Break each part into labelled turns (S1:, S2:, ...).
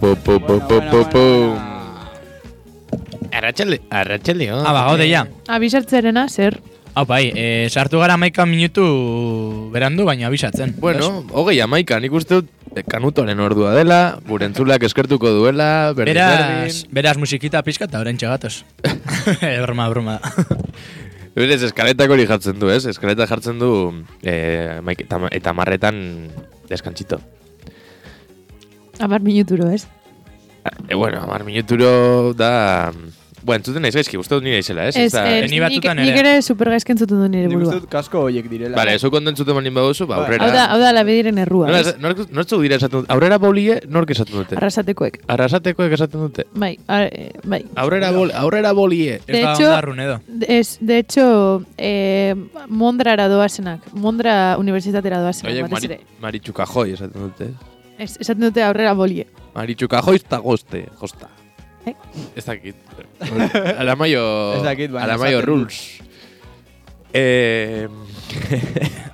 S1: Pum, pum, pum, pum.
S2: Arratxalde, arratxalde,
S3: Ah, ba, gaude ja.
S4: Abizartzerena, zer?
S3: Hau bai, e, sartu gara maika minutu berandu, baina abisatzen.
S2: Bueno,
S3: ba.
S2: hogei amaika, nik uste dut eh, kanutoren ordua dela, gure entzulak eskertuko duela, berdin,
S3: beraz, beraz musikita pizka eta orain txegatoz. broma, broma.
S2: berdin. Berez, eskaletak hori jartzen du, ez? Eskaleta jartzen du eh, amaik- eta, ma- eta marretan deskantzito.
S4: Amar minuturo, ez?
S2: E, bueno, amar minuturo da... Bueno, entzuten naiz gaizki, uste dut nire izela, ez?
S4: Ez,
S2: da-
S4: ez,
S3: Ni
S4: nik,
S3: batzutan
S4: nik
S3: ere.
S4: ere supergaizk entzuten du nire
S1: Nik uste
S4: burua.
S1: dut kasko horiek direla.
S2: eh, Vale, eso kondo entzuten manin baduzu, ba,
S1: Bai.
S2: aurrera.
S4: Hau da, hau da, labediren errua,
S2: Nola
S4: ez?
S2: esa- nork- nortzuk dira esaten dute? Aurrera bolie, nork esaten dute?
S4: Arrasatekoek.
S2: Arrasatekoek esaten dute.
S4: Bai, ar, eh, bai.
S2: Aurrera, bol, aurrera bolie.
S3: Ez
S4: De
S3: da
S4: hecho-
S3: onda runedo.
S4: De- Ez, de hecho, eh, Mondrara doazenak, Mondra Unibertsitatera doazenak,
S2: Oiek,
S4: batez
S2: mari,
S4: ere.
S2: maritxuka joi esaten dute.
S4: Ez, esaten dute aurrera bolie.
S2: Maritxuka joiz eta goste, josta.
S4: Eh?
S2: Ez dakit. Alamaio...
S1: Ez dakit, baina
S2: Alamaio
S1: esaten
S2: rules. Eh,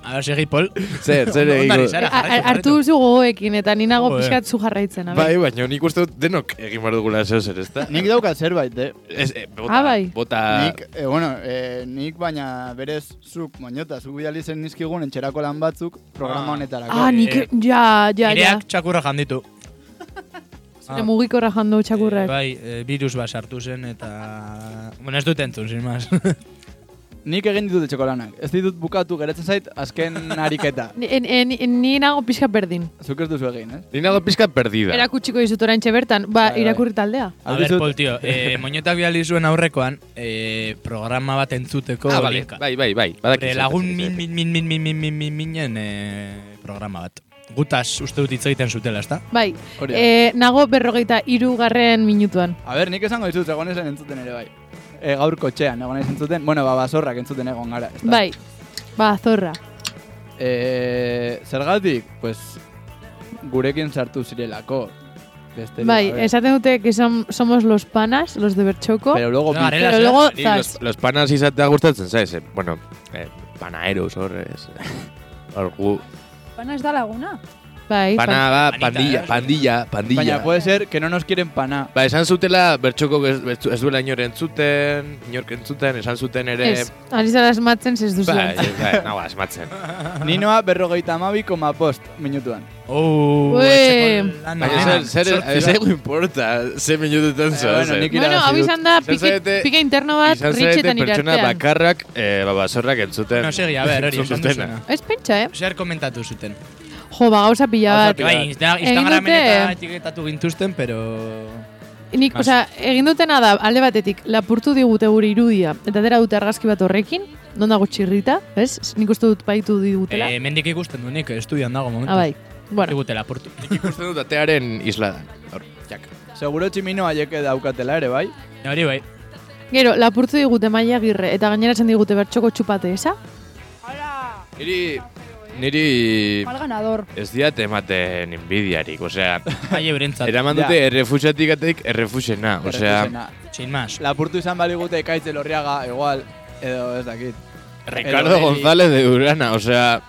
S3: Ara segi, Pol.
S2: zer, zer
S3: Ondo- ondo ari
S2: egin
S3: zara. Ara,
S4: Eh, a- a-
S3: jarraitu,
S4: Hartu
S3: jarraitu.
S4: duzu gogoekin, eta ni nago
S3: Joder.
S4: pixkat zu jarraitzen, a ber.
S2: Bai, baina nik uste dut denok egin behar dugula zeu zer, ez da?
S5: Nik daukat zerbait, eh?
S2: Ez, eh, bota,
S4: Ah, bai.
S2: Bota...
S5: Nik, eh, bueno, eh, nik baina berez zuk, moñota, zuk bidali zen nizkigun entxerako lan batzuk programa
S3: Ah.
S5: honetarako.
S4: Ah, nik, ja, ja, ja.
S3: Ireak txakurra janditu.
S4: Zure mugikorra jandu
S3: Eh,
S4: txakurrak.
S3: bai, eh, virus bat sartu zen eta... Bueno, ez dut entzun, sin más.
S4: Ah.
S1: Nik egin ditut etxeko lanak. Ez ditut bukatu geratzen zait azken ariketa.
S3: bai.
S4: Ni- en- en- en- Ni nago pixka berdin.
S1: Zuk ez duzu egin, eh?
S2: Ni nago pizka perdida.
S4: Erakutsiko dizut orain bertan, ba,
S1: Bai, bai.
S4: irakurri taldea.
S3: A ver, Pol, tío, eh, moñotak bidali zuen aurrekoan eh, programa bat entzuteko
S2: Ah, vale,
S3: linka.
S2: bai, bai, bai. badakit
S3: Pre
S2: zer,
S3: lagun
S2: zer, zer.
S3: min, min, min, min, min, min, min, min, minen eh, programa bat. Gutaz uste dut hitz egiten zutela, ezta?
S4: Bai,
S1: Hori da.
S4: eh, nago berrogeita irugarren minutuan.
S1: A ber, nik esango dizut, egon esan entzuten ere bai. E, gaur kotxean, egon ez entzuten, bueno, ba, basorrak entzuten egon gara. ezta?
S4: Bai, ba, zorra.
S1: E, zergatik, pues, gurekin sartu zirelako. Beste
S4: Bai, esaten dute que som, somos los panas, los de Bertxoko.
S1: Pero luego,
S3: No,
S1: pin-
S3: garela
S4: Pero
S3: zer?
S4: luego,
S2: Ni
S4: zas.
S2: los, los panas izatea gustatzen, zaiz? Eh, bueno, eh, panaeros, hor, ez. Hor gu...
S6: Pana ez da laguna.
S4: Bai,
S2: Pana ba,
S3: Panita,
S2: pandilla,
S3: eh?
S2: pandilla, pandilla.
S1: baina puede ser que no nos quieren pana.
S2: Ba, esan zutela bertxoko ez, ez- ez duela inor entzuten, inork entzuten, esan zuten
S4: pan-
S2: ere...
S4: Ez, ari zara esmatzen zez duzu.
S2: eh. Bai, ez, bai, nago asmatzen.
S1: Ninoa berrogeita amabi koma post minutuan.
S3: Oh,
S4: Ue.
S3: etxeko lan
S2: Baina
S3: denak,
S2: zer, zer,
S3: zortzi
S2: ez
S3: bat.
S2: egu importa, ze minutetan
S1: Eh,
S2: zo,
S1: bueno, nik
S4: Bueno,
S1: irabazi
S4: hau
S1: dut.
S4: izan da
S2: Izan
S4: pike,
S2: zarete-
S4: pike interno bat
S2: Izan zarete
S4: ritxetan
S2: pertsona
S4: irartean.
S2: bakarrak, eh, ba, basorrak entzuten.
S3: No, segi, a ber, hori,
S2: entzun
S3: esan
S2: dutena.
S3: duzuna.
S4: Ez pentsa, eh?
S3: Zer komentatu zuten.
S4: Jo, ba, gauza pila
S1: Gauza
S4: bat.
S1: pila.
S3: Bai, Insta-
S4: Egin
S3: Instagramen
S4: dute-
S3: eta etiketatu gintuzten, pero...
S4: Nik,
S3: Mas.
S4: osea, egin dutena da, alde batetik, lapurtu digute gure irudia, eta dera dute argazki bat horrekin, non dago txirrita, ez? Nik uste dut baitu digutela.
S3: Eh, mendik ikusten du nik, estudian dago momentu.
S4: ah, bai. Bueno,
S3: Digutela, portu.
S2: Ikusten dut atearen isladan. Hor, jak.
S1: Seguro tximino haiek daukatela ere, bai?
S3: Hori bai.
S4: gero, lapurtu digute maia girre, eta gaineratzen digute bertxoko txupate, esa?
S6: Hala!
S2: Niri, niri
S6: Mal ganador.
S2: ez diat ematen inbidiarik, osea,
S3: Bai, eurentzat.
S2: eraman dute errefusatik atek errefusena, osea,
S1: Errefusena.
S3: Sin más.
S1: Lapurtu izan baligute ekaitz elorriaga, igual, edo ez dakit.
S2: Ricardo
S1: Edo-
S2: González de Urana, osea,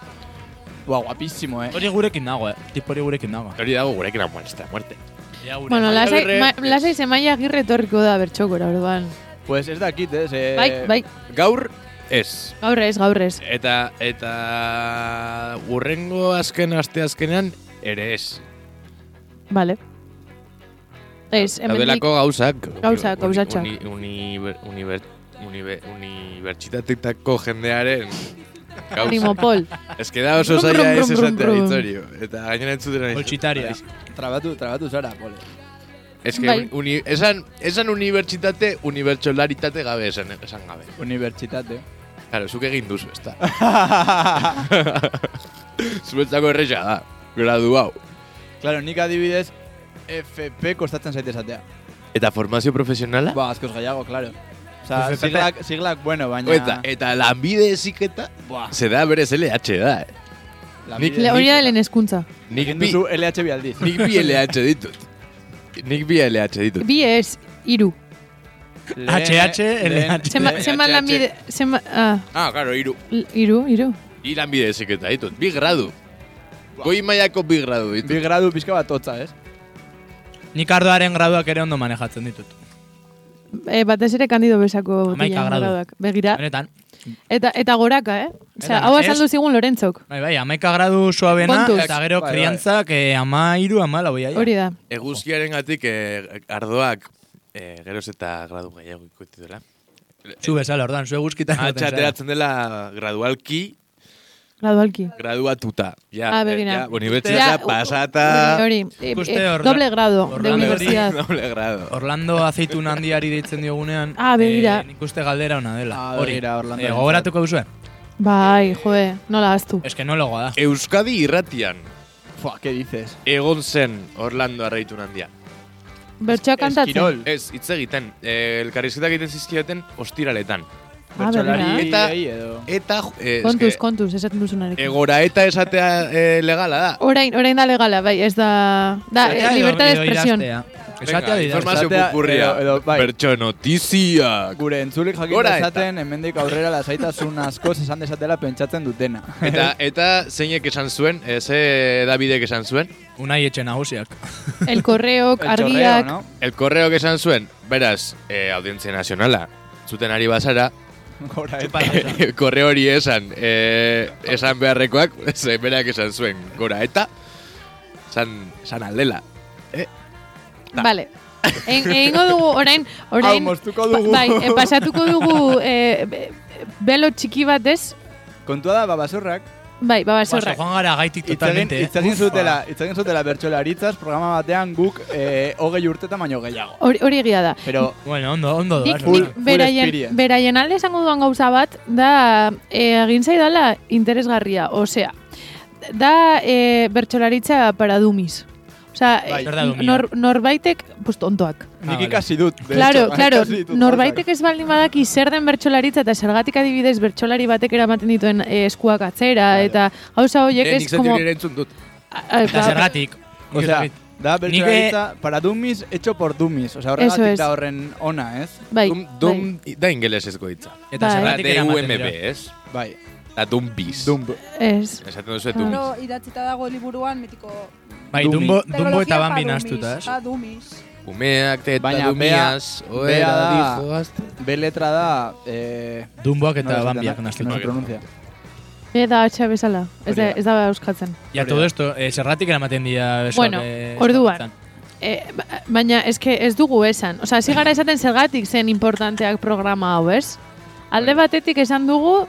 S1: Buah, guapísimo, eh.
S3: Hori gurekin dago, eh. Tipo hori gurekin dago.
S2: hori dago gurekin a muerte, muerte.
S3: Ja, gure.
S4: Bueno,
S2: Maia
S4: lasai,
S2: Girre-
S4: ma, lasai ze maia girre etorriko da bertxokora, orduan.
S1: Pues ez dakit, ez. Eh,
S4: bai, bai,
S2: Gaur, ez.
S4: gaur ez, gaur ez.
S2: Eta, eta, urrengo azken aste azkenean, ere ez.
S4: Vale. Ez, hemendik,
S2: Daudelako gauzak.
S4: Gauzak,
S2: uni-
S4: gauzatxoak.
S2: Uni, uniber, uniber, uniber, unibertsitateetako jendearen gauzak.
S4: Primopol.
S2: Ez que da oso
S4: Brum,
S2: zaila
S4: brum,
S2: ez
S4: brum,
S2: esatea
S4: brum, brum.
S2: Vitorio. Eta gainera entzutera nahi.
S3: Poltsitaria.
S1: Trabatu, trabatu zara, pole.
S2: Ez que
S4: Bai.
S2: uni, esan, esan unibertsitate, unibertsolaritate gabe esan, esan gabe.
S1: Unibertsitate.
S2: Claro, zuk egin duzu, ez da. Zuretzako erresa da, gradu hau.
S1: Claro, nik adibidez, FP kostatzen zaite esatea.
S2: Eta formazio profesionala?
S1: Ba, askoz gehiago, claro. Osa,
S3: FP.
S1: siglak, siglak, bueno, baina...
S2: Eta, eta lanbide eziketa,
S1: Buah,
S2: se da berez LH da, eh.
S1: lanbide-
S4: Le- Hori da lehen hezkuntza.
S2: Nik
S1: Egin
S2: bi,
S1: duzu LH bi aldiz.
S2: nik bi LH ditut. Nik bi LH ditut.
S4: Bi ez, iru.
S3: HH, LH.
S4: Zenba- Zenbat
S2: LH.
S4: lanbide... Zenba, ah,
S2: Ah, claro, iru.
S4: l- iru, iru.
S2: Bi lanbide eziketa ditut, bi gradu. Goi mailako bi gradu ditut.
S1: Bi gradu pixka bat hotza, ez?
S3: Nik ardoaren graduak ere ondo manejatzen ditut.
S4: E, batez ere kandido besako
S3: Hamaika
S4: botilen
S3: gradu.
S4: graduak. Begira.
S3: Benetan.
S4: Eta, eta goraka, eh? Osea,
S3: Eta
S4: hau
S3: ez-
S4: azaldu zigun Lorentzok.
S3: Bai, bai, amaika gradu suabena,
S4: Kontuz.
S3: eta gero
S1: Bai, bai.
S3: kriantzak eh, ama iru, ama laboia.
S4: Hori da.
S2: Eguzkiaren gatik ardoak eh, geroz eta gradu gehiago ikutu dela.
S3: Zu bezala, ordan, zu eguzkitan.
S2: Atxa
S3: egoten zara.
S2: ateratzen dela gradualki,
S4: Gradualki.
S2: graduatuta. Ja,
S4: Ah,
S2: eh,
S4: begina.
S2: ja,
S4: Ja,
S2: unibertsitatea pasata.
S4: Hori, eh,
S3: Ikuste
S4: eh,
S3: horrela-
S4: doble grado de
S3: horrela-
S4: universidad.
S2: Doble grado.
S3: Orlando azeitun handiari deitzen diogunean,
S4: Ah, begira.
S3: eh, nik uste galdera ona dela.
S1: Ah,
S3: Hori,
S1: begira, Orlando.
S3: Eh, gogoratuko duzue?
S4: Bai, joe, nola aztu.
S3: Ez que no logoa da.
S4: Ah,
S2: Euskadi irratian
S1: Fua, ¿qué dices?
S2: egon zen Orlando arraitun handia.
S4: Bertsoa kantatzen. Ah,
S1: Kirol.
S2: Ez, hitz egiten, eh, elkarrizketak egiten zizkioten ostiraletan.
S4: Ah, berdina.
S1: Bertsolari
S2: Eta-
S1: ei edo.
S2: Eta, jo- eh,
S4: Kontuz,
S2: eske,
S4: kontuz, esaten duzunarekin.
S2: egora eta esatea eh, legala da.
S4: Orain, orain da legala, bai, ez da... Da, eh,
S3: Esatea edo-
S4: libertad de
S3: edo
S4: expresión.
S3: idaztea.
S2: Venga,
S3: Esatea edo idaztea.
S2: informazio
S1: Esatea,
S2: pupurria.
S1: edo- edo, bai.
S2: Bertxo notiziak.
S1: Gure entzulik jakin
S2: Gora eta.
S1: dezaten, hemendik aurrera lasaitasun askoz esan dezatela pentsatzen dutena.
S2: Eta, eta zeinek esan zuen, eh, ze Davidek esan zuen.
S3: Unai etxe nagusiak.
S4: El korreok,
S1: El chorreo,
S4: argiak...
S1: ¿no?
S2: El korreok esan zuen, beraz, eh, audientzia nazionala, zuten ari bazara,
S1: Gora eta.
S2: korreo hori esan, eh, esan beharrekoak, ze berak esan zuen, gora eta, esan, esan aldela.
S4: Vale. En, egingo dugu, orain... orain
S1: Hau, moztuko dugu.
S4: Bai, eh, pasatuko dugu... Eh, be- belo txiki batez,
S1: Kontua da, babasorrak,
S4: bai,
S3: Baso,
S4: babasorrak.
S3: joan gara gaitik
S1: itzegin,
S3: totalmente. eh.
S1: itzegin
S3: Ufa.
S1: zutela, itzegin zutela bertsolaritzaz programa batean guk eh, hogei urtetan baino gehiago.
S4: Hori hori egia da.
S1: Pero
S3: Bueno, ondo, ondo doaz.
S4: Nik,
S1: full-
S4: nik
S3: orduan.
S1: full
S4: beraien,
S1: experience.
S4: beraien alde esango duan gauza bat da eh, egin zaidala interesgarria, osea, da eh, bertsolaritza para dummies. Osea,
S1: Bai.
S4: eh,
S3: Berda dumia.
S4: nor, norbaitek, pues, tontoak.
S1: nik
S3: Ah,
S1: ikasi dut. de
S4: Claro,
S1: hecho,
S4: claro,
S1: ikasi ditut
S4: norbaitek ez baldin badaki zer den bertsolaritza eta zergatik adibidez bertsolari batek eramaten dituen eh, eskuak atzera eta gauza horiek
S2: Eh,
S4: ez
S2: nik zati
S4: como...
S2: nire entzun dut.
S4: a- a-
S3: Eta
S4: ba-
S3: zergatik.
S1: gauzak. O sea, da
S3: Nik, eh,
S1: bertsolaritza para dummies, hecho por dummies. O sea,
S4: Eso
S1: horregatik
S4: es.
S1: da horren ona, ¿eh? ez?
S4: bai,
S2: Dum,
S4: bai.
S2: dum da ingelesezko hitza.
S3: Eta
S4: Bai.
S2: Da
S3: zergatik eramaten
S2: DUMB,
S3: dira.
S2: ez?
S1: Bai,
S2: Da dumbiz.
S1: dumb.
S4: Ez.
S2: Esaten duzu dumbiz.
S6: Gero idatzita dago liburuan mitiko...
S3: Bai,
S1: Dumi.
S3: Dumbo, Dumbo
S6: Teknologia
S3: eta
S6: pa
S3: Bambi
S6: dummies,
S3: nahastuta, ez?
S6: pa dummies.
S2: Umeak, teta,
S1: Baina,
S2: dumiaz,
S1: bea-
S2: oera,
S1: bea da-
S2: dijo, gazte.
S1: B letra da... Eh,
S3: Dumboak
S1: no lo
S3: eta
S1: sé,
S3: Bambiak
S1: no-
S3: nahastuta.
S1: No se pronuncia.
S4: Eta atxa bezala, ez da,
S1: Hori da.
S4: ez da euskatzen.
S3: Ja, todo esto, eh, zerratik eramaten dira besoak.
S4: Bueno,
S3: eh,
S4: orduan.
S3: esan.
S4: E, ba- baina eske ez dugu esan. Osea, hasi gara esaten zergatik zen importanteak programa hau, ez? Alde batetik esan dugu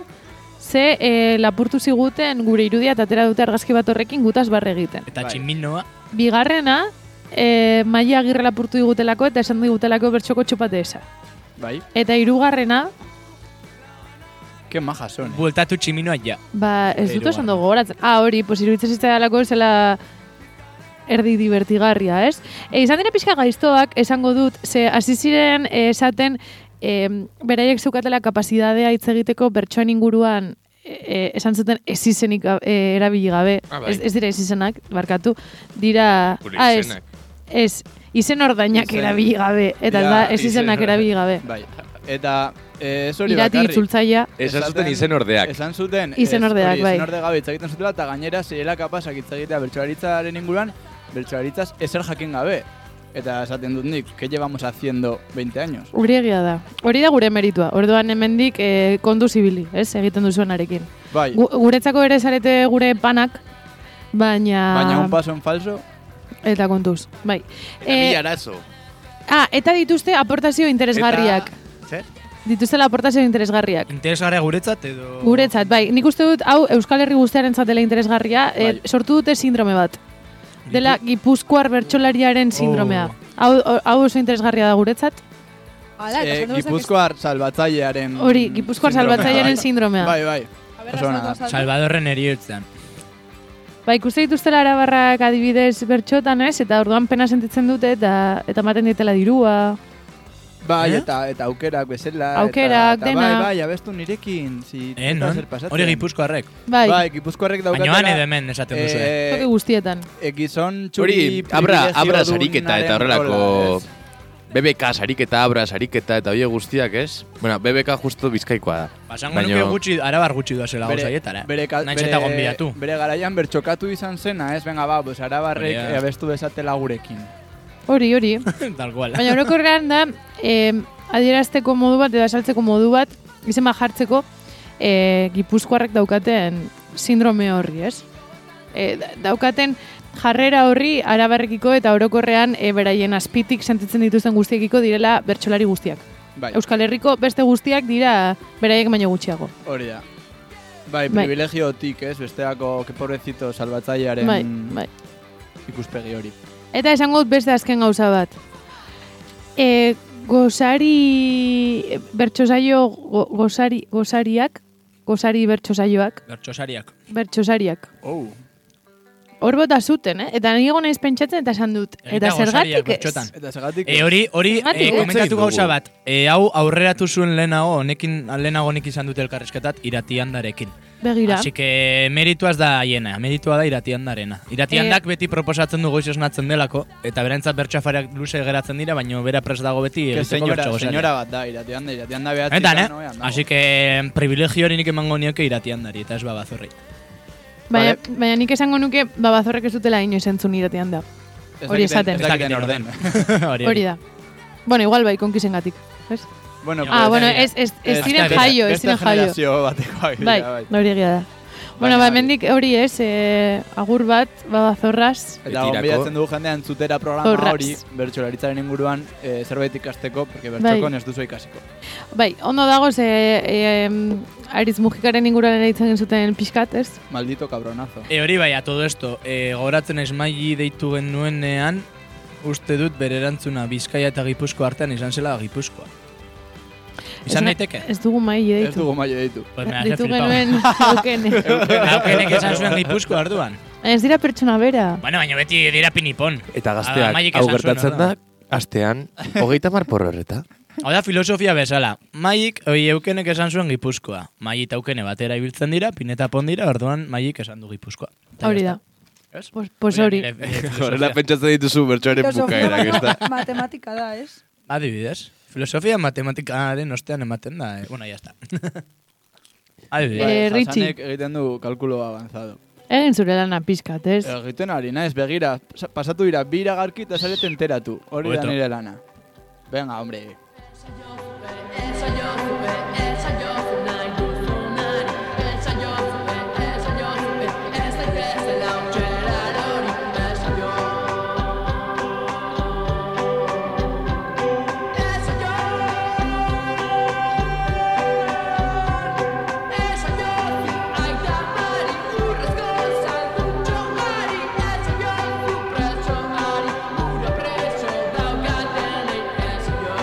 S4: ze e, lapurtu ziguten gure irudia eta atera dute argazki bat horrekin gutaz barre egiten.
S3: Eta
S1: Bai.
S3: tximinoa.
S4: Bigarrena, e, maia agirre lapurtu digutelako eta esan digutelako bertxoko txupate esa.
S1: Bai,
S4: Eta hirugarrena,
S1: qué majas son. eh.
S3: Bueltatu tximinoa ja.
S4: ba, ez dut
S1: Hirugarrena.
S4: oso ondo gogoratzen. Ah, hori, pues iruditzen zitzaidalako zela erdi divertigarria, ez? E, izan dira pixka gaiztoak, esango dut, ze hasi ziren eh, esaten e, beraiek zeukatela kapazidadea hitz egiteko bertsoen inguruan e, e, esan zuten ez izenik ga- e, erabili gabe.
S2: Ah, bai.
S4: ez, ez dira ez izenak, barkatu. Dira,
S2: Gure
S4: ah, ez,
S2: izenak.
S4: ez, izen ordainak
S1: Izen-
S4: erabili gabe. Eta
S1: Dira
S4: da, ez
S2: izen-
S4: izenak erabili gabe.
S1: Bai. Eta, eh, ez hori
S4: Irati
S1: bakarrik.
S4: itzultzaia.
S2: Esan zuten
S1: Esaten-
S2: izen ordeak.
S1: Esan zuten,
S4: Izenordeak,
S1: ez, hori,
S4: bai.
S1: izenorde gabe hitz egiten zutela, eta gainera zirela kapazak hitz egitea bertsolaritzaren inguruan, bertsolaritzaz ezer jakin gabe. Eta esaten dut nik, que llevamos haciendo 20 años.
S4: Hori egia da. Hori da gure meritua. Orduan hemendik e, kontuz ibili, ez? Egiten duzuenarekin.
S1: Bai,
S4: Gu- guretzako ere zarete gure panak, baina...
S1: baina un paso en falso,
S4: Eta kontuz, bai.
S2: Eta
S4: Eh,
S2: mila arazo.
S4: ah, eta dituzte aportazio interesgarriak.
S2: Zer?
S4: Dituztela aportazio interesgarriak.
S3: Interesgarria guretzat edo...
S4: Guretzat, bai, nik uste dut, hau Euskal Herri guztiaren zatela interesgarria, eh,
S1: Bai.
S4: sortu dute sindrome bat. Dela Gipuzkoar bertsolariaren sindromea.
S1: Oh.
S4: Hau, hau oso interesgarria da guretzat.
S6: Ala, eta
S1: eh,
S6: esan dezakez-
S1: Gipuzkoar salbatzailearen...
S4: Hori, Gipuzkoar
S1: sindromea.
S4: salbatzailearen sindromea.
S1: Bai, bai.
S6: A ber,
S1: Oso ona
S6: azaldu,
S1: da.
S6: azaldu.
S3: Salvadorren eriotzen.
S4: Ba, ikuste dituztela arabarrak adibidez bertxotan ez, eta orduan pena sentitzen dute eta eta ematen dietela dirua.
S1: Bai,
S3: Eh?
S1: eta, eta aukerak bezala.
S4: Aukerak,
S1: eta, eta,
S4: dena.
S1: Bai, bai, abestu nirekin. Si
S3: Eh,
S1: eta
S3: non?
S1: zer pasatzen.
S3: Hori gipuzkoarrek.
S4: Bai,
S1: Bai, Gipuzkoarrek daukatela...
S3: Baina han edo hemen esaten duzu, eh?
S1: eh,
S4: toki guztietan.
S1: eh, gizon
S2: Hori,
S1: txuri...
S2: abra,
S1: privilegio
S2: abra sariketa eta
S1: dunaren rola,
S2: horrelako...
S1: ez?
S3: Ba,
S2: BBK sariketa, abra sariketa eta hoe guztiak, ez? Bueno, BBK justo bizkaikoa da.
S3: Pasango Ba, nuke gutxi, arabar gutxi doazela
S1: Eh, Bere-
S3: gauzaietara. eh?
S1: bere, ka-
S3: Nahiz eta gonbidatu.
S1: bere garaian bertxokatu izan zena, ez, venga, ba, pues,
S3: Hori
S1: arabarrek
S3: da.
S1: eh, abestu dezatela gurekin.
S4: Hori, hori.
S3: Tal cual.
S4: Baina orokorrean da, eh, adierazteko modu bat edo azaltzeko modu bat, izema jartzeko, eh, gipuzkoarrek daukaten sindrome horri, ez? Eh, da- daukaten jarrera horri arabarrekiko eta orokorrean eh, beraien azpitik sentitzen dituzten guztiekiko direla bertsolari guztiak.
S1: Bai,
S4: Euskal Herriko beste guztiak dira beraiek baino gutxiago.
S1: hori da. Bai,
S4: Bai.
S1: privilegiotik, ez? Besteako, que pobrecito, salbatzailearen
S4: Bai, bai.
S1: ikuspegi hori.
S4: Eta esango dut beste azken gauza bat. E, gozari bertsosaio go, gozari gozariak, gozari bertsosaioak,
S3: Bertxosariak.
S4: bertsosariak.
S1: Oh.
S4: Hor bota zuten, eh? Eta ni egon naiz pentsatzen eta esan dut. Eta
S3: Egitako
S4: zergatik
S3: sariak
S4: ez?
S3: bertxotan.
S1: Eta segatik...
S3: E, hori, hori,
S4: Zergatik,
S3: e,
S4: eh?
S3: komentatu
S2: Dugu.
S3: gauza bat. E, hau aurreratu zuen lehenago, honekin, lehenago honek izan dute elkarrizketat iratiandarekin.
S4: Begira.
S3: Así que merituaz da haiena, meritua da iratiandarena.
S4: Eh.
S3: Iratiandak beti proposatzen du goiz esnatzen delako, eta berantzat bertxafariak luze geratzen dira, baina bera pres dago beti
S1: Que
S3: egiteko
S1: senyora,
S3: bertxogosaria.
S1: senyora bat da, iratean da, iratean da behatzi.
S3: Benetan, eh?
S1: kanoean dago.
S3: Así que privilegio hori nik emango nioke iratiandari, eta ez babazorri.
S4: Baina, baina nik esango nuke babazorrek ez dutela inoiz entzun iratean da.
S1: Ez
S4: hori
S1: dakiten-
S4: esaten.
S1: Ez
S3: Ez
S1: dakiten
S3: dakiten
S1: orden.
S3: hori, bai.
S4: Hori da. Bueno, igual bai, konkisengatik. ez?
S1: bueno,
S3: Ah,
S4: Ah,
S1: pues, eh,
S4: bueno,
S3: bai,
S4: ez, ez, ez
S1: ez
S4: ziren
S1: dakit,
S4: jaio, ez
S1: beste
S4: ziren jaio.
S1: generazio batekoak dira,
S4: Bai,
S1: bai.
S4: hori egia da. Bueno, ba,
S1: bai.
S4: hemendik hori ez, eh, agur bat, ba, babazorraz,
S1: Eta
S2: Betirako.
S1: gonbidatzen dugu jendea entzutera programa
S4: Zorraz.
S1: hori, bertsolaritzaren inguruan, eh, zerbait ikasteko, porque
S4: Bai.
S1: bertxokon ez duzu ikasiko.
S4: Bai, ondo dago ze e, Ariz Mujikaren inguruan ere hitzen zuten pixkat, ez?
S1: Maldito cabronazo.
S3: E hori bai, a todo esto, e, gogoratzen esmaili deitu genuenean, uste dut bere erantzuna Bizkaia eta Gipuzko artean izan zela Gipuzkoa. Izan
S4: Ez-
S3: daiteke?
S4: Ez dugu mai
S1: Ez
S4: deitu.
S1: dugu maio ditu.
S3: Pues me hace
S4: Ditu
S3: flipado.
S4: genuen eukene.
S3: Laukenek esan zuen Gipuzkoa arduan.
S4: Ez dira pertsona bera.
S3: Bueno, baina beti dira pinipon.
S2: Eta
S3: Ah,
S2: gazteak,
S3: Maik
S2: hau
S3: esan zuen,
S2: gertatzen da,
S3: orduan.
S2: astean, hogeita mar porrorreta.
S3: Hau da filosofia bezala. Maik, oi eukenek esan zuen Gipuzkoa. Mai eta eukene batera ibiltzen dira, pineta pondira, orduan maik esan du Gipuzkoa. Eta
S4: Hori
S3: ya
S4: da.
S3: está. Ez?
S4: Pues, pues
S3: Hori
S4: hori.
S3: da nire- nire
S2: Horrela
S3: filosofia.
S2: pentsatzen dituzu bertsoaren
S6: Filosofia
S2: bukaerak, ez da?
S6: matema- matematika da, ez?
S3: Adibidez, filosofia matematikaren ostean ematen da, eh? bueno, ya está. Adibidez.
S4: Eh,
S1: Bai,
S4: Richie.
S1: Hasanek egiten du kalkulo avanzado.
S4: Egin zure lana pixkat, ez?
S1: Egiten ari naiz, begira, sa- pasatu dira, bira garki eta zarete enteratu. Hori da
S3: Hobeto.
S1: nire lana. Venga, hombre.
S7: Preso, ari, gure preso daukatenei, ez jo.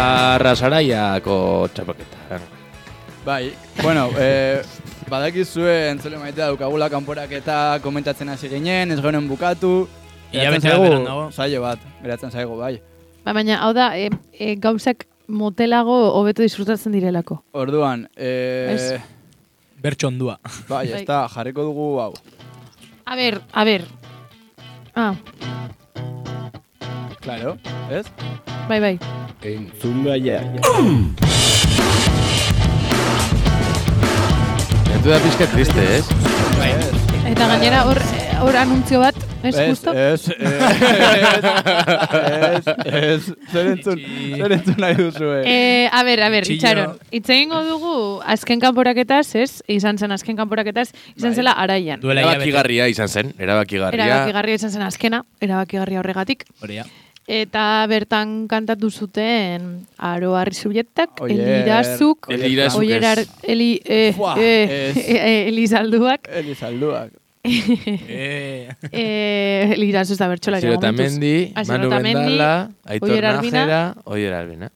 S2: Arrasaraiako txapaketa.
S1: Bai, bueno, eh, badakizue entzule maitea daukagula kanporaketa komentatzen hasi ginen, ez geunen bukatu.
S3: Hilabete
S1: Geratzen
S3: beran
S1: zaigu
S3: dago.
S1: Saio bat, geratzen zaigu, bai.
S4: Ba, baina, hau da, e, e, gauzak motelago hobeto disfrutatzen direlako.
S1: Orduan, eh,
S4: Ez.
S3: Bertxo ondua.
S1: bai,
S4: Bai.
S1: ez da, jarriko dugu hau.
S4: A ber, a ber. Ah,
S1: Claro, ez?
S4: bai, bai.
S7: Entzun gaiak.
S2: Entu da pizka triste, ez?
S4: Eta gainera hor, hor anuntzio bat, ez, justo?
S1: Ez, eh, ez, ez, ez, zer entzun,
S3: Itxi.
S1: zer entzun nahi duzue.
S4: Eh, a ber, a ber,
S3: Txillo.
S4: itxaron. Itz egingo dugu azken kanporaketaz, ez? Izan zen azken kanporaketaz, izan zela araian.
S3: Duela hilabete.
S2: Erabakigarria izan zen, erabakigarria.
S4: Erabakigarria izan zen azkena, erabakigarria horregatik.
S3: Hori da.
S4: Eta bertan kantatu zuten Aro Arrizuletak,
S1: Oier.
S4: Elirazuk,
S2: Elirazuk ez.
S4: Oierar, Eli, eh,
S1: Fua,
S4: eh,
S1: ez.
S4: eh, Elizalduak,
S1: Elizalduak.
S3: Eh,
S4: eh, Elirazu eta bertxolaria
S2: Zirotamendi,
S4: momentuz.
S2: Manu
S4: Azirotamendi,
S2: Bendala, Aitor
S4: Oier Arbina.
S2: Najera, Oier Arbina.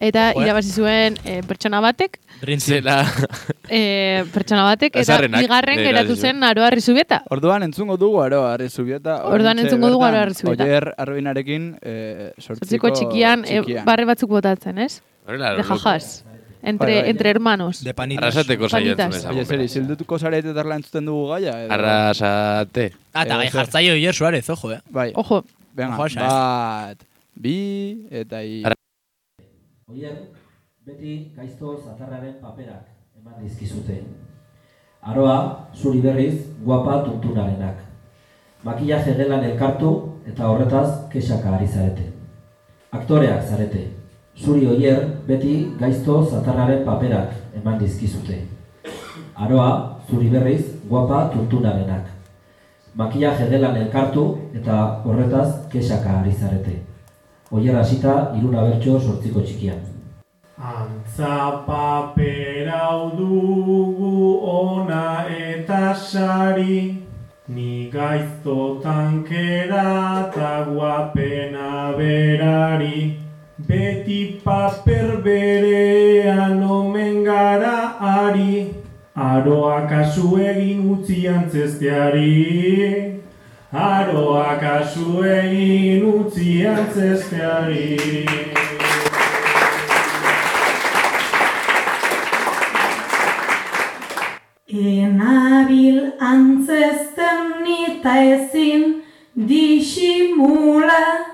S4: Eta
S3: Joder.
S4: irabazi zuen eh, pertsona batek,
S3: Rintzela.
S2: Zela,
S4: eh, pertsona batek, eta
S2: Azarrenak,
S4: bigarren
S2: irabazi
S4: geratu
S2: zuen.
S4: zen Aro Arrizubieta.
S1: Orduan entzungo dugu aro, arrezubieta.
S4: Orduan entzungo dugu Aro Arrizubeta.
S1: Oier arbinarekin eh, sortziko,
S4: Zortziko txikian, eh, barre batzuk botatzen, ez?
S2: horrela,
S4: De jajas. Entre,
S1: Bai, bai.
S4: entre hermanos.
S3: De panitas.
S2: Arrasateko saio
S4: Panitas.
S2: entzun
S1: Oye, zer,
S2: ezagun.
S1: izildutuko zarete darla entzuten dugu gaia? edo?
S2: Arrasate.
S3: Ah, eta gai jartzaio Ier Suárez, ojo, eh.
S1: Bai,
S4: Ojo,
S1: venga,
S3: Ojo, esa, eh.
S1: bat, bi, eta i...
S2: Arra-
S8: Oier, beti gaizto zatarraren paperak eman dizkizute. Aroa, zuri berriz, guapa tuntunarenak. Makillaje gelan elkartu eta horretaz kexaka ari zarete. Aktoreak zarete. Zuri oier, beti gaizto zatarraren paperak eman dizkizute. Aroa, zuri berriz, guapa tuntunarenak. Makillaje gelan elkartu eta horretaz kexaka ari zarete. Oier hasita, iruna bertso sortziko txikian.
S9: Antza paperau dugu ona eta sari, ni gaiztotan kera eta guapena berari. Beti paper berean omen gara ari, aroa kasu egin utzi antzesteari. Aroa kasu egin utzi antzesteari.
S10: Enabil antzesten nita ezin disimula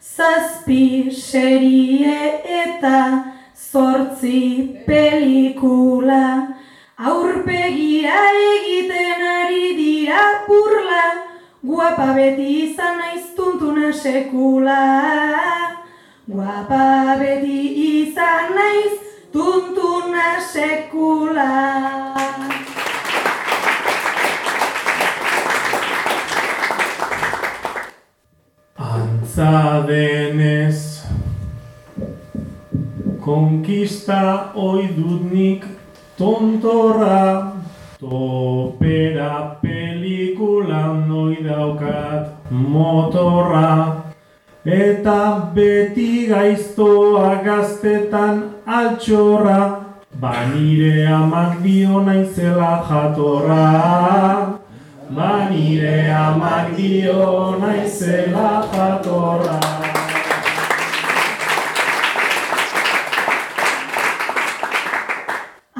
S10: Zazpi serie eta zortzi pelikula Aurpegia egiten ari dira burla Guapa beti izan naiz tuntuna sekula Guapa beti izan naiz tuntuna sekula
S9: Antza denez Konkista oi dut nik tontorra Topera pelikulan oi daukat motorra Eta beti gaiztoa gaztetan altxorra Ba nire amak dio naizela jatorra Ba nire amak dio naizela jatorra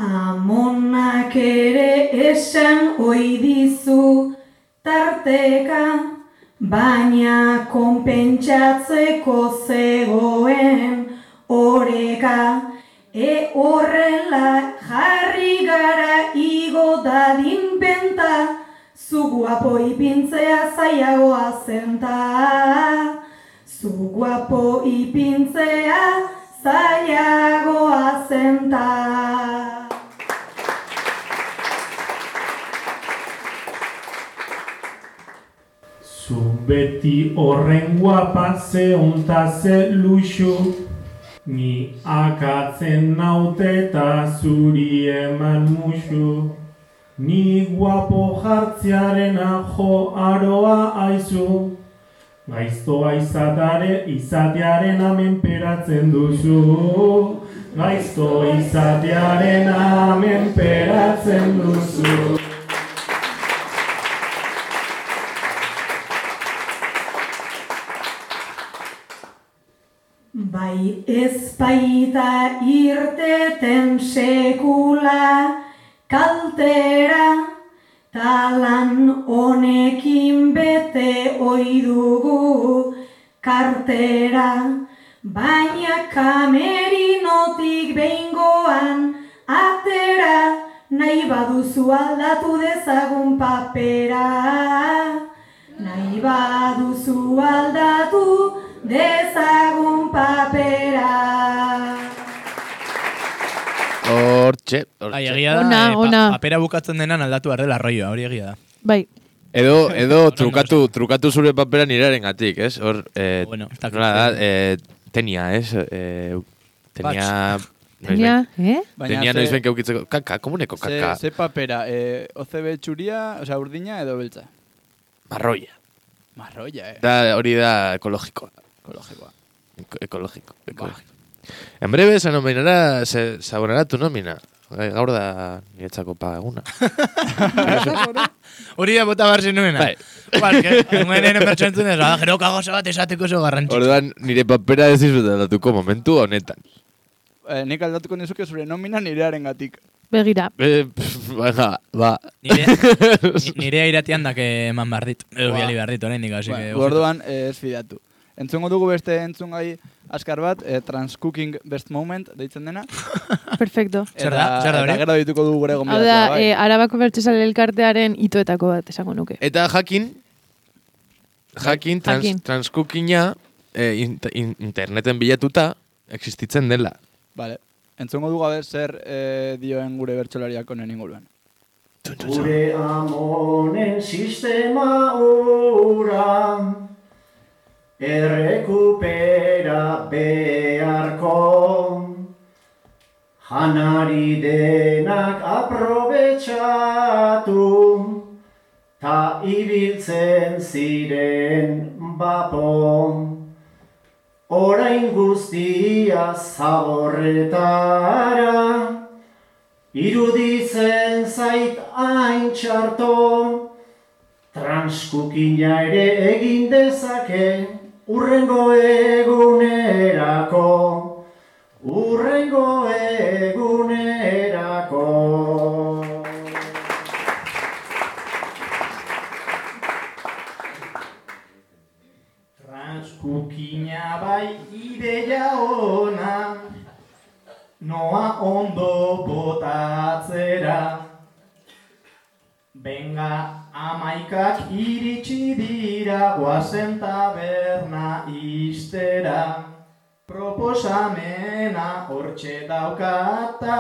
S10: Amonak ere esan ohi dizu tarteka, baina konpentsatzeko zegoen oreka. E horrela jarri gara igo dadin penta, zu guapo ipintzea zailagoa zenta. Zu guapo ipintzea zailagoa zenta.
S9: Zu beti horren guapa ze onta ze luxu Ni akatzen naute eta zuri eman musu Ni guapo jartzearen ajo aroa aizu Gaiztoa izatare, izatearen amenperatzen duzu. Gaiztoa izatearen amenperatzen duzu.
S10: Bai ez baita irteten sekula kaltera, talan honekin bete ohi dugu kartera, baina kamerinotik behingoan atera, nahi baduzu aldatu dezagun papera. Nahi baduzu aldatu dezagun papera.
S2: Hortxe,
S3: Ai,
S2: hortxe.
S3: egia da,
S4: Ona,
S3: eh, pa-
S4: ona.
S3: papera bukatzen denan aldatu behar dela arroioa, hori egia da.
S4: Bai.
S2: Edo, edo trukatu, trukatu zure papera nirearen gatik, ez? Hor, eh,
S3: Bueno, ez dakit.
S2: nola da, eh, tenia, ez? Eh, tenia...
S4: Baina, eh?
S2: Baina tenia
S1: ze-
S2: noiz benka ukitzeko, kaka, komuneko kaka,
S1: Ze, ze papera, eh, OCB txuria, osea, urdina edo beltza?
S2: marroia.
S1: Marroia, eh,
S2: Da, hori da ekologikoa.
S1: ekologikoa.
S2: Eko- Ekologiko,
S1: Ba.
S2: ekologiko. En breve se nominará, se, se abonará tu nómina. Gai- Gaur da niretzako paguna.
S3: Hori da bota behar zenuena.
S2: Bai.
S3: Ba, eske, hemen pertsontzen ez, ba, gero kagoza bat esateko oso garrantzitsua.
S2: Orduan, nire papera ez dizutatuko momentu honetan.
S1: Eh, nik aldatuko nizuke zure nomina nirearen gatik.
S4: Begira.
S2: Eh, baina, ba,
S3: Nire, ni- nire iratian dak eman behar dit. Edo
S1: Ba.
S3: biali behar dit, oraindik, así
S2: Bai.
S3: que...
S1: Bueno,
S3: ojito.
S1: orduan, eh, ez fidatu. Entzungo dugu beste entzungai askar bat, eh, Transcooking Best Moment deitzen dena.
S4: Perfecto.
S3: Zer da? Zer da hori?
S1: Eta gero dituko dugu gure
S4: Hau
S1: gombidatua,
S4: da,
S1: bai.
S4: eh, Arabako Bertsozale Elkartearen itoetako bat, esango nuke.
S2: Eta jakin, jakin, trans,
S4: Jakin.
S2: transkukina eh, int- in- interneten bilatuta existitzen dela.
S1: Vale. Entzungo dugu gabe zer eh, dioen gure bertsolariak honen inguruan.
S8: Gure amonen sistema ura Errekupera beharko Janari denak aprobetxatu Ta ibiltzen ziren bapo Orain guztia zaborretara Iruditzen zait hain txarto, transkukina ere egin dezake, urrengo egunerako, urrengo egunerako.
S9: Transkukina bai ideia ona, noa ondo botatzera. Benga amaikak iritsi dira guazen taberna iztera. Proposamena hortxe daukata,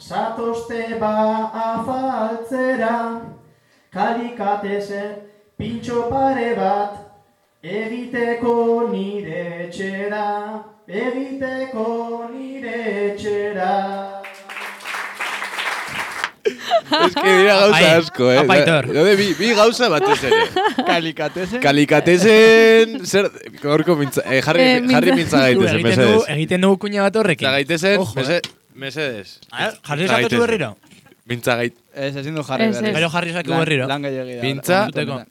S9: zatozte ba afaltzera. Kalikateze pintxo pare bat, egiteko nire etxera, egiteko nire etxera.
S2: Ez que dira gauza
S3: Apai,
S2: asko, eh.
S3: apaitor.
S2: Da- daude bi, bi gauza batez ere.
S1: Kalikatezen.
S2: Kalikatezen, zer, gorko mintza, eh, jarri,
S4: Eh, mintza-
S2: jarri mintza gaitezen,
S3: Egiten dugu,
S2: mesedez.
S3: egiten dugu kuña bat horrekin.
S2: Mintza gaitezen,
S3: Ojo, eh.
S2: mese, mesedez.
S3: Ah, Jarri
S2: Mintza
S3: esakatu
S2: gaitezen.
S3: berriro.
S2: Mintza gait,
S1: Ez, ezin du jarri
S4: Ez, ez.
S1: berriz.
S3: Gero jarri esakatu
S1: Lan-
S3: berriro.
S1: Lan gehiagia da.
S2: Pintza.
S1: Benetan.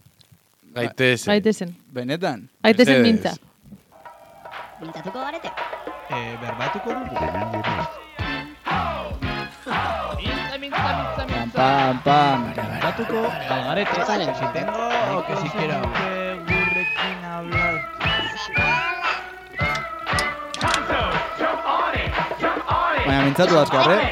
S2: gaitezen.
S4: Gaitezen.
S1: Benetan.
S4: Gaitezen
S2: Mesedez.
S4: mintza.
S11: Mintatuko garete.
S1: Pam, pam, pam.
S11: Zalen.
S1: Baina mintzatu da askar, eh?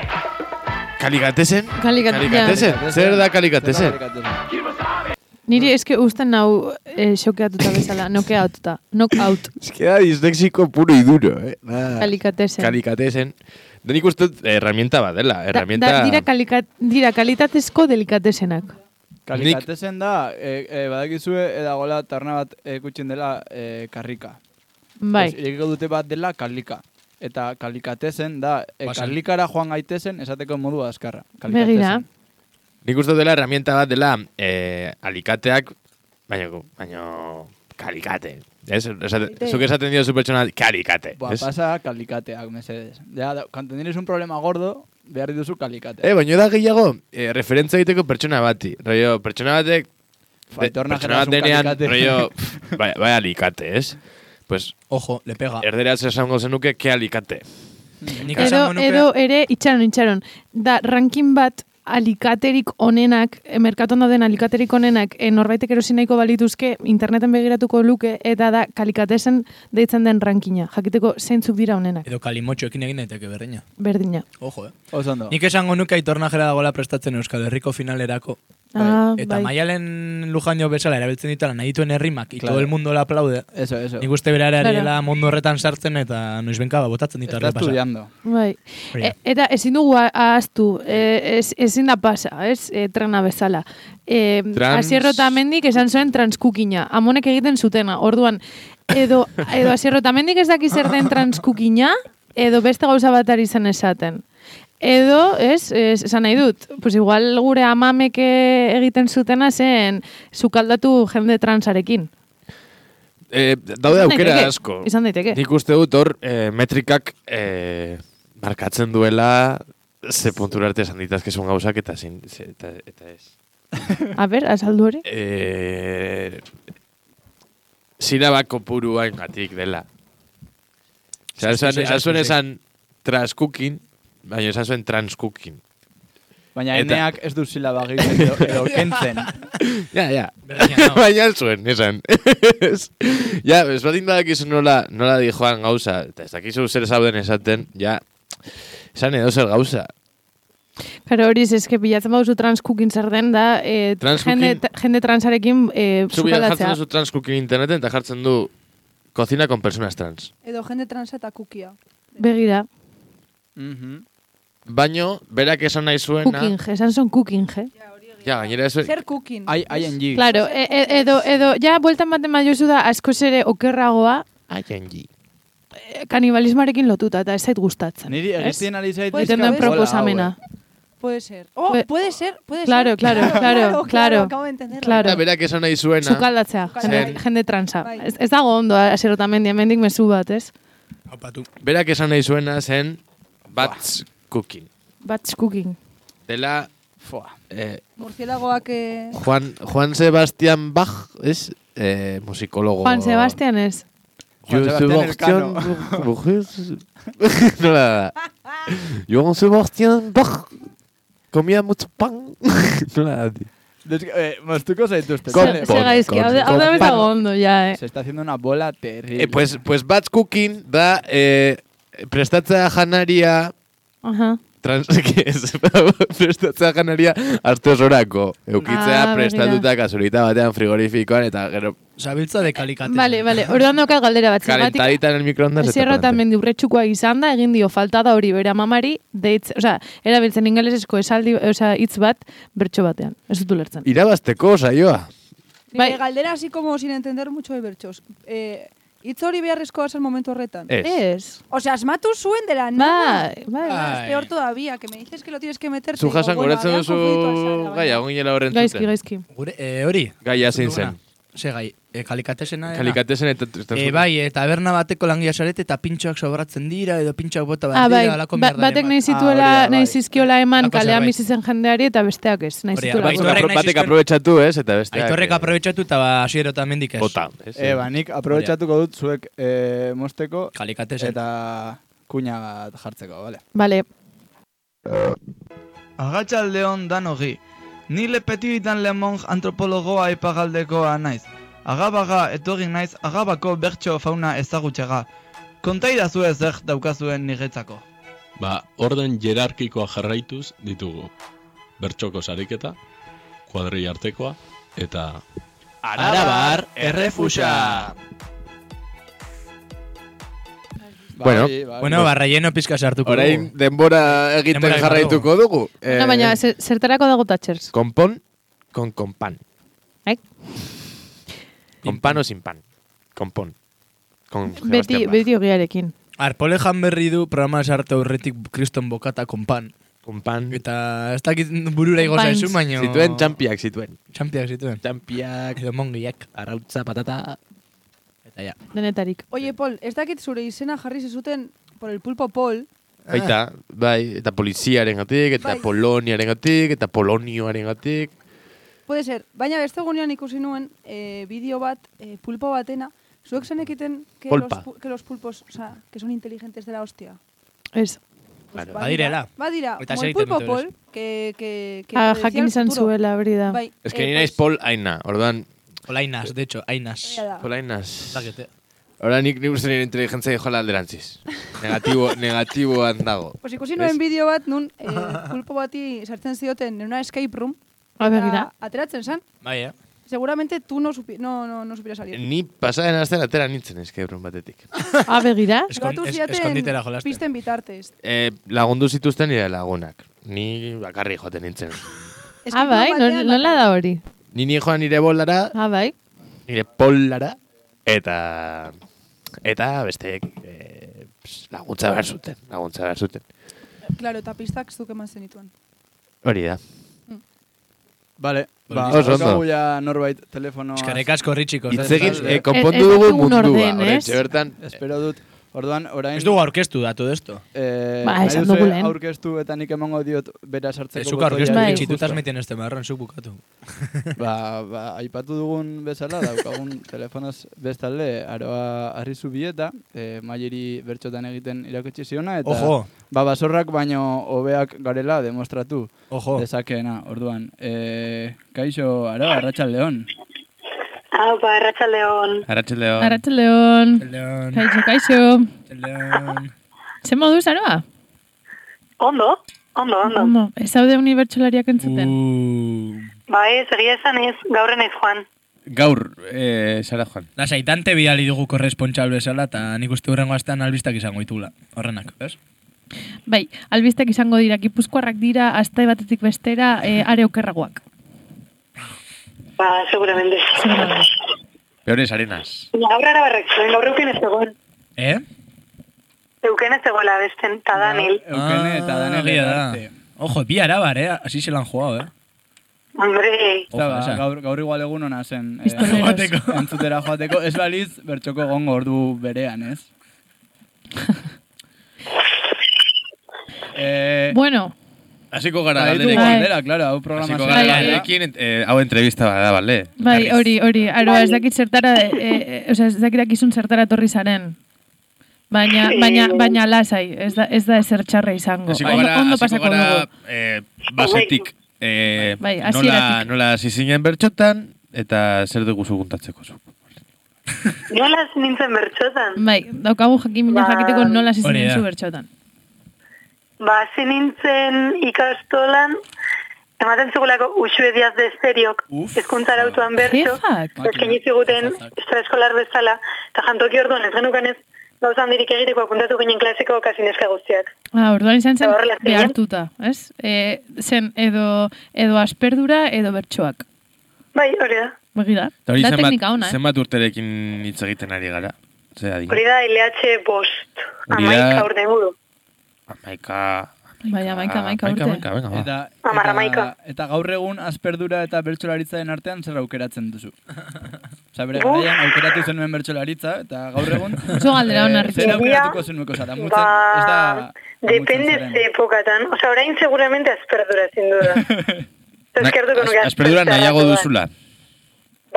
S2: Kalikatezen?
S4: Kalikatezen.
S2: Kalikatezen? Zer da kalikatezen?
S1: Kalikatezen.
S4: Niri eske usten nau eh, xokeatuta bezala, nokeatuta. Knockout.
S2: Ez que da dislexiko puro y duro, eh. Nada.
S4: Kalikatezen.
S2: Kalikatezen. Da nik uste dut herramienta bat dela.
S4: Da-
S2: Herramienta...
S4: da, dira, kalika, dira kalitatezko delikatesenak.
S1: Kalikatezen da, e, e, badakizue, edagola tarna bat ekutxin dela e, karrika.
S4: Bai.
S1: Ez, irekiko dute bat dela kalika. Eta kalikatezen da, e,
S3: Basan.
S1: kalikara joan gaitezen esateko modu azkarra. Kalikatezen.
S4: Begira.
S2: Nik uste dut dela herramienta bat dela eh, alikateak, baina, baina kalikate. Ez, esate, zuk esaten dio supertsona kalikate.
S1: Ba,
S2: ez?
S1: pasa kalikateak, mesedes. Ja, da, cuando tienes un problema gordo, behar dituzu kalikateak.
S2: Eh, baina da gehiago, eh, referentza egiteko pertsona bati. Rollo, pertsona batek...
S1: Faltorna
S2: pertsona bat
S1: generazun
S2: denean,
S1: kalikate.
S2: rollo, pff, bai, bai alikate, ez? Pues,
S3: Ojo, le pega.
S2: erderaz esango zenuke, ke alikate.
S3: Nik
S4: Edo,
S3: esango nuke-
S4: edo ere itxaron, itxaron. Da, rankin bat alikaterik onenak, eh, merkaton dauden alikaterik onenak, eh, norbaitek erosi nahiko balituzke, interneten begiratuko luke, eta da, kalikatesen deitzen den rankina. Jakiteko zeintzuk dira onenak.
S3: Edo kalimotxoekin egin daiteke berdina.
S4: Berdina.
S3: Ojo, eh.
S1: Oso ondo.
S3: Nik esango nuke aitor najera dagoela prestatzen Euskal Herriko finalerako.
S4: Ah,
S3: Eta
S4: bai.
S3: maialen lujaino bezala erabiltzen ditala nahi dituen herrimak, y
S1: Claro.
S3: todo el mundo la aplaude.
S1: Eso, eso.
S3: Nik uste berara
S4: Claro.
S3: ariela mundu horretan sartzen eta noiz benkaba botatzen ditu
S1: Está
S3: arre pasa.
S1: estudiando.
S4: Bai.
S3: Hori da.
S4: E, eta ezin dugu a- ahaztu, e, ez, ezin da pasa, ez, e, trena bezala. E,
S2: Trans-
S4: Asierro eta mendik esan zuen transkukina, amonek egiten zutena, orduan, edo, edo asierro eta mendik ez daki zer den transkukina, edo beste gauza bat ari zen esaten. Edo, ez, ez, esan nahi dut, pues igual gure amamek eh, egiten zutena zen sukaldatu jende transarekin.
S2: Eh, daude
S4: Izan
S2: aukera
S4: daiteke,
S2: asko.
S4: izan daiteke.
S2: Nik uste dut hor eh, metrikak eh, markatzen duela ze puntura arte esan ditazkezun gauzak eta, zin, ze- eta, eta ez.
S4: A ber, azaldu hori?
S2: Eh, silabak kopurua engatik dela. Osea,
S3: Zazpi,
S2: esan-
S3: sei,
S2: esan zuen
S3: zazpi, sei.
S2: esan transkukin, baina esan zuen transkukin.
S1: Baina
S2: Eta-
S1: eneak ez du silaba gehitzen edo, edo kentzen.
S2: Ja, ja.
S3: Berdina, no?
S2: Baina ez zuen, esan. Ez. ja, ez bat indakizu nola, nola di joan gauza, eta ez dakizu zer zauden esaten, ja, esan edo zer gauza.
S4: Pero hori, ez eske bilatzen baduzu transkukin zer den da, e,
S2: Transkukin-
S4: jende, ta- jende transarekin e,
S2: Zubian jartzen
S4: sukaldatzea.
S2: duzu transkukin interneten eta jartzen du cocina con personas trans.
S6: Edo jende transa eta kukia.
S4: Begira,
S1: Mhm.
S2: Baino, berak esan nahi zuena,
S4: cooking, esan zon cooking, je.
S2: ja, gainera ez,
S6: Zer kukin.
S1: Ai, aien ji.
S4: Claro, e, e, edo, edo, ja, bueltan baten maiozu da askoz ere okerragoa
S2: Aiengi.
S4: e, kanibalismarekin lotuta, eta ez zait gustatzen.
S1: Niri
S4: ez?
S1: egizien ari zait
S6: Pues
S4: Egiten
S1: dizka
S4: den
S1: bola
S4: proposamena.
S1: hau, eh.
S6: Puede ser. Oh,
S4: Pue-
S6: puede ser, puede
S4: Claro,
S6: ser.
S4: claro, claro, claro,
S6: Acabo de entenderlo.
S4: claro.
S2: Eta berak esan nahi zuena,
S4: Sukaldatzea, jende,
S2: Zer-
S4: jende transa.
S6: Bai.
S4: Ez, ez dago ondo, aserotamendi, hemendik mezu bat, ez?
S3: Haupatu.
S2: berak esan nahi zuena zen bats cooking.
S4: Batch cooking.
S2: Dela,
S1: Fua.
S2: eh,
S6: Murcielagoak... Eh...
S2: Juan, Juan Sebastián Bach es eh, musicólogo.
S4: Juan Sebastian ez.
S1: Juan Sebastián Elcano.
S2: Bujes- no, la, Juan Sebastián Bach comía mucho pan. no la
S1: Des- eh, moztuko zaituzte.
S2: Kon-
S1: bale?
S4: Ze- ze gaizki, hau da- hau da ez dago ondo, ja, eh.
S1: Se está haciendo una bola terrible.
S2: eh, pues, pues Bats Cooking da eh, prestatza janaria
S4: Aha.
S2: trans, que ez, prestatza janaria astesorako. Eukitzea
S4: Ah, begira.
S2: prestatuta kasurita batean frigorifikoan eta gero
S3: Zabiltza de kalikate.
S4: Vale, vale, orduan daukat galdera bat. Zergatik-
S2: kalentadita en el microondas. eta
S4: Zierro eta
S2: pa'lante.
S4: mendi urretxukoa izan da, egin dio falta da hori bere amamari, deitz, osea, erabiltzen ingelesezko esaldi, osea, hitz bat, bertso batean. Ez dut ulertzen.
S2: Irabazteko saioa.
S6: Nire
S4: Bai.
S6: Eh, galdera así como sin entender mucho de bertxos. Eh, Itz hori beharrezkoa zen momentu horretan.
S3: Eh.
S2: Ez.
S4: Ez.
S6: O sea, asmatu zuen de la nada.
S4: Bai, bai.
S3: Ah.
S6: Es
S3: Bai.
S6: peor todavía, que me dices que lo tienes que meter.
S2: Zu jasan goratzen duzu gaia, gongiela horren
S4: Gaizki,
S2: zuten.
S4: gaizki.
S3: Gure, eh, hori?
S2: Gaia zein zen.
S3: Ze gai, eh, kalikatesena dena?
S2: Kalikatezen eta tristan
S3: Eh, bai, eh, taberna bateko langilea sarete eta pintxoak sobratzen dira edo pintxoak bota bat
S4: Ah, bai,
S3: dira, halako
S4: ba,
S3: mierdaren
S4: batek nahi
S1: Ah, hori
S4: zituela,
S1: da,
S4: nahi
S1: bai.
S4: zizkiola eman
S3: Lako
S4: kalean
S3: zerbait.
S4: bizi zen jendeari eta besteak ez, nahi
S3: Hori da,
S4: zituela.
S3: bai,
S4: bota.
S3: horrek nahi
S2: Batek
S3: zizuen-
S2: aprobetsatu ez, eta beste.
S3: Aitorrek bai. aprobetsatu eta ba, asiero eta mendik ez.
S2: Bota. ez?
S1: Eh, ba, nik aprobetxatuko dut zuek eh, mozteko
S3: Kalikatesen.
S1: eta kuña bat jartzeko, vale?
S4: Vale,
S2: bai.
S5: Agatxaldeon dan hori. Ni lepetitan lemon antropologoa ipagaldekoa naiz. Agabaga etorri naiz agabako bertso fauna ezagutxega. Kontaidazu ez zer daukazuen niretzako.
S7: Ba, orden jerarkikoa jarraituz ditugu. Bertxoko sariketa, kuadri artekoa, eta
S11: Arabar errefusa.
S1: Ba,
S2: Bueno.
S1: hori, ba, hori.
S3: Bueno, ba, relleno pizka sartuko.
S2: Orain
S3: dugu.
S2: denbora egiten
S3: Denbora
S2: jarraituko dugu. Eh,
S4: no, baina zer- zertarako dago tatxers.
S2: Konpon, kon konpan.
S4: Ai.
S2: Konpan o sin pan. Konpon. Kon
S4: Beti,
S2: Sebastián Bach.
S4: beti ogiarekin.
S3: Arpole jan berri du programa sartu aurretik kriston bokata konpan.
S2: Konpan.
S3: Eta ez dakit burura igo
S4: Konpains.
S3: zaizu, baino...
S2: Zituen txampiak, zituen.
S3: Txampiak zituen.
S2: Txampiak,
S3: Edo mongiak.
S2: arrautza, patata.
S3: Ja, ja.
S4: Denetarik.
S6: Oie, Pol, ez dakit zure izena jarri zuten por el pulpo Pol.
S2: Baita, bai, eta poliziaren gatik, eta
S6: Ah. Bai.
S2: poloniaren gatik, eta polonioaren gatik.
S6: Puede ser, baina beste gunean ikusi nuen eh, bideo bat, eh, pulpo batena, zuek zenekiten que, los,
S2: Polpa.
S6: pu- que los pulpos, o sea, que son inteligentes de la hostia.
S4: Ez.
S2: Claro.
S6: Badirela. Badira,
S2: Eta
S6: como
S2: segiten
S6: el pulpo
S2: dute
S6: Pol, que... que, que
S4: Ah,
S6: predecía
S4: jakin
S6: el
S4: izan
S6: futuro.
S4: zuela, hori da.
S6: Bai,
S2: Ez que
S6: eh,
S2: ni naiz pol aina, ordan.
S3: Polainas, de hecho, ainas. eh.
S2: Polainas.
S3: Dakete.
S2: Ahora nik ni uste nire inteligentzia joala alderantziz. Negatibo, negatiboan dago.
S6: Pues ikusi
S2: Ez?
S6: nuen bideo bat, nun eh, pulpo bati sartzen zioten en una escape room.
S4: A
S6: eta
S4: Ah, begira.
S6: Ateratzen zan.
S3: Bai, eh?
S6: Seguramente tú no, supi, no, no, no supieras salir.
S2: Ni pasaren azten atera nintzen eskebrun batetik.
S4: A Ah, begira.
S6: Lotu zidaten
S2: eskonditera jolasten.
S6: Pisten bitartez.
S4: Ah,
S2: Eh, lagundu zituzten nire lagunak. Ni bakarri joaten nintzen.
S4: Ah, bai,
S6: Escape room
S4: no-
S6: batean,
S4: nola da hori?
S2: Ni ni joan nire bolara,
S4: Ah, bai.
S2: nire pollara, eta... Eta besteek eh, ps, laguntza behar zuten, laguntza behar zuten.
S6: Claro, eta pistak zuk eman zenituen.
S2: Hori da.
S1: Vale, ba,
S2: Oso ondo.
S1: daukagu ja norbait telefonoa.
S3: Eskerrik asko, Ritxiko.
S2: Hitz egin, eh, konpondu Ez- ez dugu daukagun mundua, orden, orain, ez? bertan.
S1: Espero dut, orduan, orain...
S3: Ez dugu aurkeztu datu desto.
S1: Eh,
S3: Ba,
S1: nahi
S3: esan
S1: duzu
S3: dugu lehen. Bai.
S1: Aurkeztu eta nik emango diot bera sartzeko.
S3: Ez zuk
S1: botoia
S3: aurkeztu,
S1: ere
S3: Ritxi,
S1: justo.
S3: tu estás metiendo este marrón, zuk bukatu.
S1: ba, ba, aipatu dugun bezala, daukagun telefonoz bestalde, aroa harri zubieta, eh, maieri bertxotan egiten irakutsi ziona, eta
S3: Ojo.
S1: ba, basorrak baino hobeak garela demostratu.
S3: Ojo.
S1: Dezakeena, orduan. Eh, kaixo, aroa, arratsaldeon.
S12: Hau, ba, arratxaldeon.
S1: Arratsaldeon.
S4: Arratxaldeon. Kaixo, kaixo. Zer moduz, aroa?
S12: Ondo, ondo, ondo.
S4: Ondo, ez zaude unibertsolariak entzuten.
S12: Ba, ez, egia esan ez, gaurren ez joan.
S3: Gaur, eh, Sara Juan. Lasaitante bidali dugu korrespontxal bezala, eta nik uste hurrengo astean albistak izango ditula. Horrenak, ez?
S2: Uh.
S4: Bai, albistek izango dira, gipuzkoarrak dira, azte batetik bestera, e, are okerragoak.
S12: Ba, seguramente.
S2: Peores arenas.
S12: Gaur arabarrak zuen, gaur euken ez egon.
S3: Eh?
S12: Euken ez egola besten, eta
S2: Ba.
S12: Daniel.
S1: Eukene eta Danele
S3: Ah, egia da.
S1: arte.
S3: Ojo, bi arabar, eh? Así se lan jugado, eh?
S12: Hombre.
S1: Eta ba,
S3: Ojo, esa.
S1: gaur, gaur igual egun ona zen. eh, entzutera joateko. Ez baliz, bertxoko egongo ordu berean, ez? eh,
S4: Bueno,
S2: Hasiko gara
S1: Ba, ditu
S2: galderekin.
S1: galdera, claro, hau programazioa.
S2: Hasiko gara
S1: Bai, bai.
S2: galderekin, eh, hau entrevista bada, bale?
S4: bai, hori, hori, aroa, ez dakit zertara, e, e, osea, ez dakit dakizun zertara torri zaren. Baina, baina, baina lasai, ez da, ez da ezer txarra izango.
S2: Hasiko
S4: Ondo-
S2: gara,
S4: ondo
S2: hasiko
S4: pasako
S2: gara
S4: dugu.
S2: eh, basetik. Eh,
S4: Bai,
S2: nola,
S4: hasieratik.
S2: nola hasi zinen bertxotan, eta zer dugu zuguntatzeko zu.
S12: Nolaz nintzen bertxotan.
S4: Bai, daukagu jakin mina
S12: Ba-
S4: jakiteko nola hasi
S2: Hori
S4: zinen
S2: da.
S4: zu bertxotan.
S12: Ba, hasi nintzen ikastolan, ematen zugulako usue diaz de esteriok, ezkuntza arautuan bertxo, eskaini ziguten estraeskolar bezala, eta jantoki orduan ez genukan ez, gauza handirik egiteko apuntatu ginen klasiko kasineska guztiak.
S4: Ah, orduan izan zen
S12: Eta horrela ziren.
S4: behartuta, ez? E, zen edo, edo asperdura edo bertxoak.
S12: Bai, hori da.
S4: Begira,
S2: Eta hori
S4: da teknika
S2: zenbat,
S4: ona, eh?
S2: zenbat urterekin hitz egiten ari gara? Zer adin?
S12: Hori da LH bost,
S2: Hori da-
S12: amaika urte inguru.
S2: Amaika...
S4: Bai, amaika, amaika
S2: Amaika,
S4: urte.
S2: amaika, venga, ba.
S1: Eta,
S12: Hamar,
S1: eta,
S12: hamaika.
S1: eta gaur egun azperdura eta bertsolaritzaren artean zer aukeratzen duzu? Osa,
S12: Uf.
S1: bere garaian aukeratu zenuen bertsolaritza, eta gaur egun...
S4: Oso galdera ona,
S1: eh,
S4: Ricky.
S1: Zer aukeratuko zenueko zara? Mutzen, ez da...
S12: Ba, depende ze epokatan. Osa, orain seguramente azperdura, sin duda. Eskertuko nuke
S2: Azperdura
S12: azperdura
S2: nahiago
S12: batuan.
S2: duzula.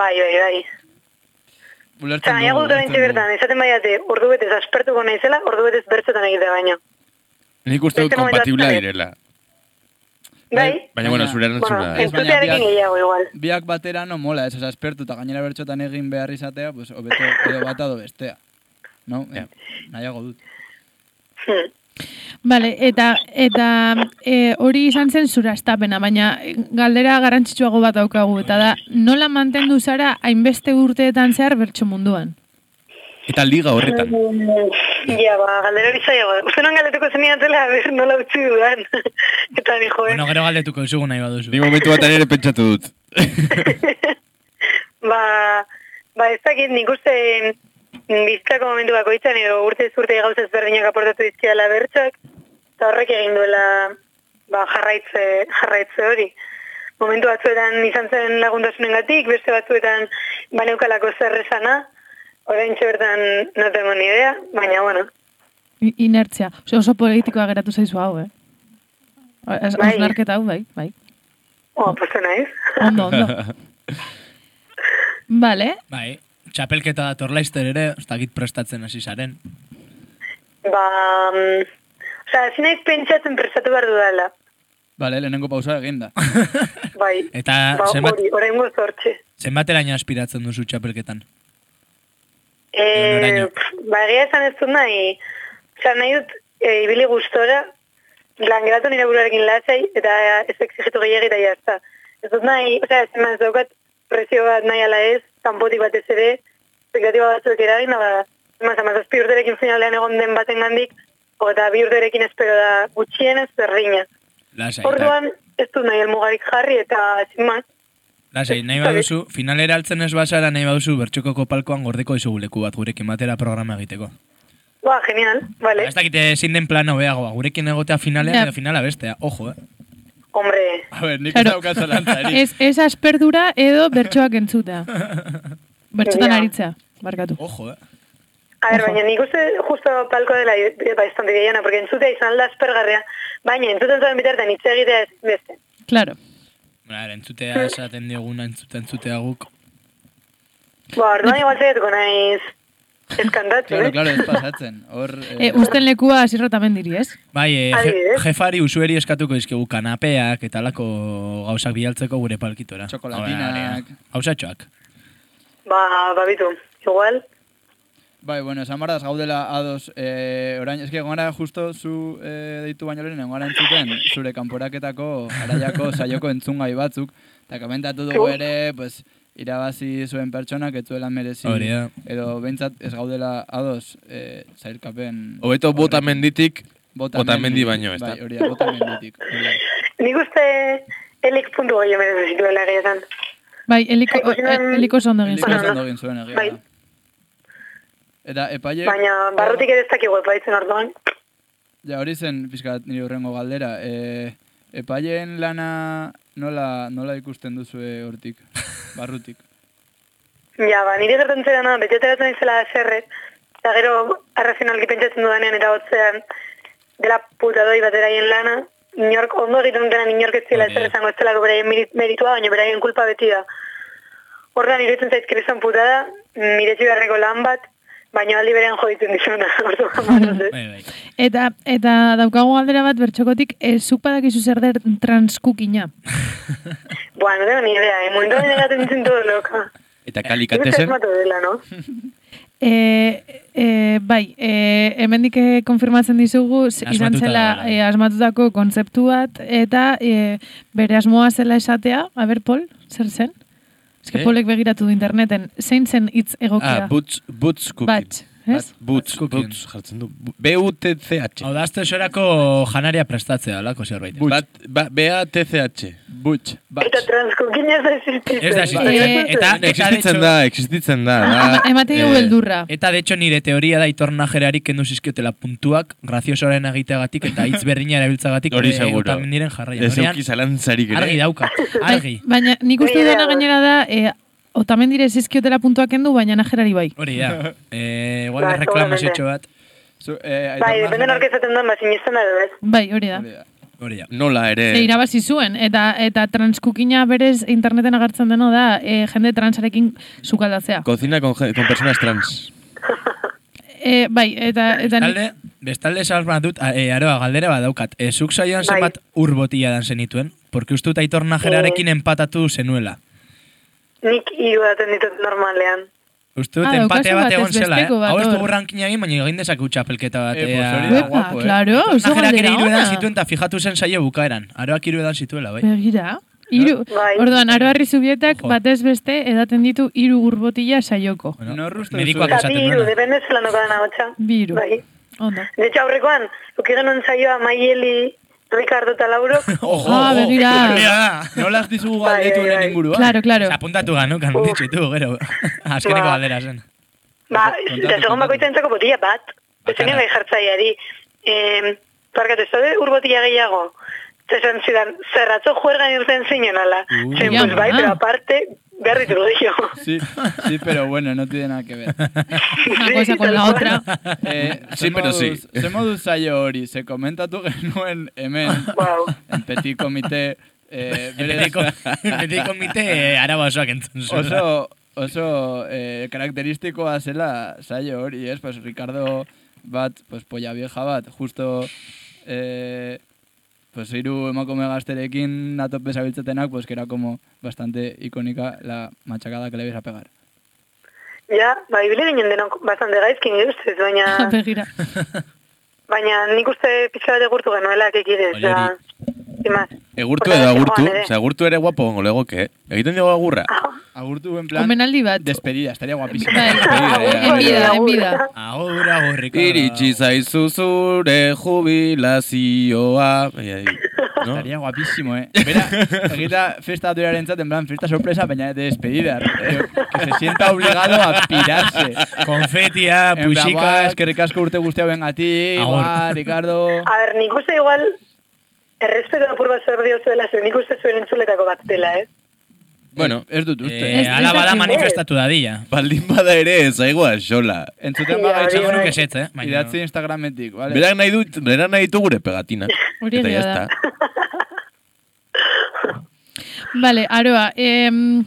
S12: Bai, bai, bai. Eta
S1: Bulertzen
S12: nahiago dut orain bertan, esaten baiate, ordu betez aspertuko naizela, ordu betez bertzotan egitea baino.
S2: Nik uste dut
S12: Beste momentu
S2: kompatibla
S12: asko.
S2: direla.
S12: Bai?
S2: Baina, bueno, zure
S12: Bueno,
S2: erantzuna.
S1: Ez, baina
S12: entzutearekin
S1: biak-
S12: gehiago igual.
S1: Biak batera no mola, ez, oza, espertu eta gainera bertxotan egin behar izatea, pues, obeto edo bata edo bestea. No? Eh, nahiago dut.
S4: Vale, eta eta e, hori izan zen zure astapena, baina galdera garrantzitsuago bat daukagu, eta da, nola mantendu zara hainbeste urteetan zehar bertso munduan?
S2: Eta liga horretan.
S12: Mm, Ja, ba, galdera hori zaiago. Uste non galdetuko zeniatela, a ber, nola utzi dudan. Eta ni joe.
S3: Bueno, gero galdetuko zugu nahi baduzu.
S2: Ni momentu bat ere pentsatu dut.
S12: Ba, ba ez dakit nik uste mm, bizkako momentu bakoitzan edo urte urte gauza ezberdinak aportatu dizkiala bertxak, eta horrek egin duela ba, jarraitze, jarraitze hori. Momentu batzuetan izan zen laguntasunengatik, beste batzuetan baneukalako zer esana, Orain bertan no tengo ni idea, baina bueno.
S4: I- Inertzia. Ose, oso politikoa geratu zaizu hau, eh?
S12: Bai.
S4: Osnarketa hau, bai, bai.
S12: Oh, posto naiz.
S4: Ondo, ondo. Vale.
S3: Bai, txapelketa dator laizter ere, ez dakit prestatzen hasi zaren.
S12: Ba, mm, osea, ezin naiz pentsatzen prestatu behar dudala.
S1: Bale, lehenengo pausa eginda.
S12: Bai,
S3: Eta
S12: ba,
S3: Ah, zenbat-
S12: hori, orain goz hortxe.
S3: Zenbateraino aspiratzen duzu txapelketan?
S12: E, pf, ba, egia esan ez dut nahi, osea, nahi dut e, ibili gustora, lan geratu nire buruarekin lasai, eta ez exigitu gehiagri eta jazta. Ez dut nahi, osea, ez eman ez daukat, presio bat nahi ala ez, kanpotik batez ere, espektatiba batzuek eragin, da, ba, eman zamazazpi urterekin finalean egon den baten gandik, eta bi urterekin espero da gutxienez berdina.
S3: Lasai, eta,
S12: Orduan, ez dut nahi elmugarik jarri, eta ezin man,
S3: lasai, nahi baduzu, finalera altzen ez bazara, nahi baduzu bertxoko kopalkoan gordeko izugu leku bat gurekin batera programa egiteko.
S12: ba, genial, vale.
S3: Ez dakite zein den plana hobeagoa, gurekin egotea finalean
S4: Ja.
S3: edo finala bestea, ojo, eh?
S12: Hombre.
S1: A ber, nik
S4: Claro. Eh.
S1: ez daukat zalantzari.
S4: Ez, ez asperdura edo bertsoak entzuta. Bertsotan aritzea, barkatu.
S3: Ojo, eh?
S12: A ber, baina nik uste justo palko dela eh, ba, izan dideiana, porque entzutea izan alda aspergarria, baina entzuten zuen bitartan hitz egitea ez beste.
S4: Claro.
S3: Bara, Ba, entzutea
S12: Hm.
S3: esaten dioguna, entzutea, entzutea guk.
S12: Ba, orduan igual zaiatuko naiz eskantatzen,
S1: Claro,
S12: eh?
S1: claro, ez pasatzen. Hor, eh,
S4: E, usten lekua zirrotamendiri, ez?
S3: Bai, eh, je-
S4: Adibidez.
S3: jefari usueri eskatuko dizkigu kanapeak eta alako gauzak bialtzeko gure palkitora.
S1: Txokolatinak.
S3: Gauzatxoak.
S12: Ba, babitu, igual.
S1: Bai, bueno, esan barra, ez gaudela ados, eh, orain, eske gona justo zu eh, deitu baino lehen, gara entzuten, zure kanporaketako, araiako, saioko entzungai batzuk, eta komentatu dugu ere, pues, irabazi zuen pertsonak, ez zuela merezi,
S2: Hori da.
S1: edo behintzat ez gaudela ados, eh, zailkapen...
S2: Hobeto bota menditik, bota mendi
S1: menditik,
S2: baino, ez da.
S1: Bai, hori da, bota menditik. hori da.
S12: Nik uste elik puntu gehiago merezi zituela gehietan.
S4: Bai, heliko, eh, heliko oso ondo egin
S1: Heliko
S4: zuen.
S1: oso ondo egin zuen, egia
S12: Bai.
S1: da. Eta epaile...
S4: Bai.
S12: Baina barrutik ere ez dakigu epaitzen orduan.
S1: Ja, hori zen, pizkat, nire hurrengo galdera. E, epaileen lana nola, nola ikusten duzue hortik, barrutik?
S12: Ja, ba, nire gertantzen dena, beti ateratzen izela zerre, eta gero arrazionalki pentsatzen dudanean eta hotzean dela putadoi bat beraien lana, inork, ondo egiten denan inork ez zela ezer esango ez zelako beraien meri- meritua, baina beraien kulpa beti da. Horrean iruditzen zait kriston putada, miretsi beharreko lan bat, baina aldi berean joditzen dizuna, orduan
S4: Eta, eta daukagu galdera bat bertxokotik, eh, zuk badakizu zer den transkukina.
S12: Buah, no tengo ni idea, eh? Mundu dena gaten zen todo loca.
S2: Eta
S12: Ikusten
S2: kalikatezen,
S12: esmatu dela, no?
S4: E, e, bai, e, hemendik eh, konfirmatzen dizugu z- izan
S12: Asmatuta
S4: zela
S12: dagoela,
S4: e, asmatutako kontzeptu bat eta e, bere asmoa zela esatea, a ber, Pol, zer zen? Ez que
S2: Eh?
S4: Polek begiratu du interneten, zein zen hitz egokia?
S2: ah, butz, butz cooking.
S4: Batch, ez?
S2: Butz, butz, jartzen du. B-U-T-C-H.
S3: Hau da, azte sorako janaria prestatzea, alako zerbait.
S2: Bat, ba, B-A-T-C-H.
S1: Butz.
S12: Eta transkukin ez da existitzen.
S3: Ez da existitzen.
S12: Bai.
S4: Eh,
S3: Eta, eta, de hecho-
S2: Existitzen da, existitzen da. da
S4: Emate dugu
S3: eh,
S4: beldurra.
S3: Eta, de hecho, nire teoria da itor najerari kendu zizkiotela puntuak, graziosoaren egiteagatik eta hitz berdina erabiltzagatik
S2: Hori seguro.
S3: diren jarraian.
S2: Ez
S3: Ordean,
S2: euki zalantzarik ere.
S3: Argi dauka, argi.
S4: Baina nik uste dena gainera da, e, otamendire zizkiotela puntuak endu, baina najerari bai.
S3: Hori da. Eh, igual
S12: Ba,
S3: erreklamaziotxo bat.
S1: Zu, eh,
S12: Bai, depende nork esaten duen, bazin izan da, edo ez?
S4: Bai, hori da.
S3: Hori da.
S2: Nola ere.
S4: Ze irabazi zuen, eta eta transkukina berez interneten agertzen deno da e, jende transarekin sukaldatzea.
S2: Cocina con, ge- con personas trans.
S4: E, bai, eta... eta
S3: Bestalde, bestalde esan behar dut, a- eh, aroa, galdera bat daukat. E, zuk saioan
S12: Bai.
S3: zenbat ur botila dan zenituen? Porque uste dut aitor najerarekin
S12: Eh.
S3: empatatu zenuela.
S12: Nik hiru daten ditut normalean.
S3: Uste dut
S12: Ah,
S3: empate
S12: daukazu
S3: bat
S12: batez
S3: egon zela, eh?
S12: besteko bat
S3: Hau ez
S12: hor.
S3: dugu rankin egin, baina egin dezakeu txapelketa bat.
S1: Eh, pues
S3: ea.
S1: hori da Epa, guapo, eh.
S4: claro,
S3: Aitor
S4: oso
S3: Najerak ere
S4: galdera
S3: hiru edan
S4: ona.
S3: zituen, eta fijatu zen saio bukaeran. Aroak hiru edan zituela, bai.
S4: Begira. Iru, orduan, aroarri zubietak batez beste edaten ditu hiru gurbotila saioko.
S3: Medikoak
S12: Eta
S3: esaten
S12: bi hiru,
S3: duena.
S12: depende zelan dokadan ahotsa.
S4: Biru.
S12: Bai.
S4: Ondo.
S12: De hecho, aurrekoan, luki genuen zaioa Maieli, Ricardo eta Lauro.
S3: Ojo,
S4: Ah, begira.
S3: Nola ez dizugu
S1: Bai,
S3: galdetu honen inguruan.
S2: ¿eh?
S4: Claro, claro.
S3: Se apuntatu ganukan, ditxitu, gero. Azkeneko
S12: Ba.
S3: galdera zen.
S12: ba, eta segon bakoitza entzako botila bat.
S2: Ah,
S12: Bezene bai jartzaiari. Eh, parkatu, ez daude urbotila gehiago. Zesan zidan, zerratzo juergan irten zinen ala.
S4: Ui.
S12: Zen,
S4: Ja,
S12: pues bai,
S4: ah.
S12: pero aparte, Gary te lo dijo.
S1: Sí, sí, pero bueno, no tiene nada que ver.
S4: Una cosa con la otra.
S1: Eh,
S2: Sí,
S1: ze
S2: pero sí.
S1: moduz- Ze modu zaio hori, ze komentatu genuen hemen, en petit komite, eh, berez-
S3: Beti komite eh, araba osoak entzun zuen.
S1: oso, oso eh, karakteristikoa zela saio hori, ez? Pues, Ricardo bat, pues, polla vieja bat, justo... Eh, pues hiru emakume gazterekin atope zabiltzetenak, pues que era como bastante icónica la machacada que le ibas a pegar.
S12: Ja, ba, ibile ginen denok bastante gaizkin, nire ustez, baina...
S4: Begira.
S12: baina nik uste pizka bat egurtu genuela, kekidez,
S2: Hori,
S12: da... Sin más.
S2: Egurtu
S12: Horregatik
S2: edo agurtu,
S12: joan ere.
S2: ze agurtu ere guapo gongo legoke, eh? Egiten dugu agurra.
S1: Agurtu en
S2: plan-
S4: Omenaldi bat.
S1: Despedida, estaría guapísimo.
S4: Bai.
S2: Despedida,
S4: Enbida, enbida.
S3: Agurra, agurrika.
S2: Iritsi zaizu zure jubilazioa. Baina, ¿no?
S1: Estaría guapísimo, eh. Bera, egita festa duraren en plan, fiesta sorpresa, baina de despedida. eh, Que se sienta obligado a pirarse.
S3: Konfetia,
S1: En plan,
S3: puxika.
S1: "Buah, eskerrik asko urte guztia ben a ti,
S3: Agur.
S1: Ricardo.
S12: A ber, nik uste igual, errespetu apur bat zer dio zuela, zen nik uste zuen entzuletako bat dela, eh?
S2: Bueno,
S1: ez dut
S2: uste.
S3: Eh, ala bada manifestatu dadila.
S2: Baldin bada ere ez aigu axola.
S1: Entzuten
S3: Ja,
S1: bagaitza
S3: esango nuke ezetz, eh, baina-
S1: Idatzi Instagrametik, vale.
S2: Berak nahi, dut, berak nahi ditu gure pegatina.
S4: Hori
S2: Eta
S4: egia
S2: ya
S4: da.
S2: está.
S4: Bale, aroa, em,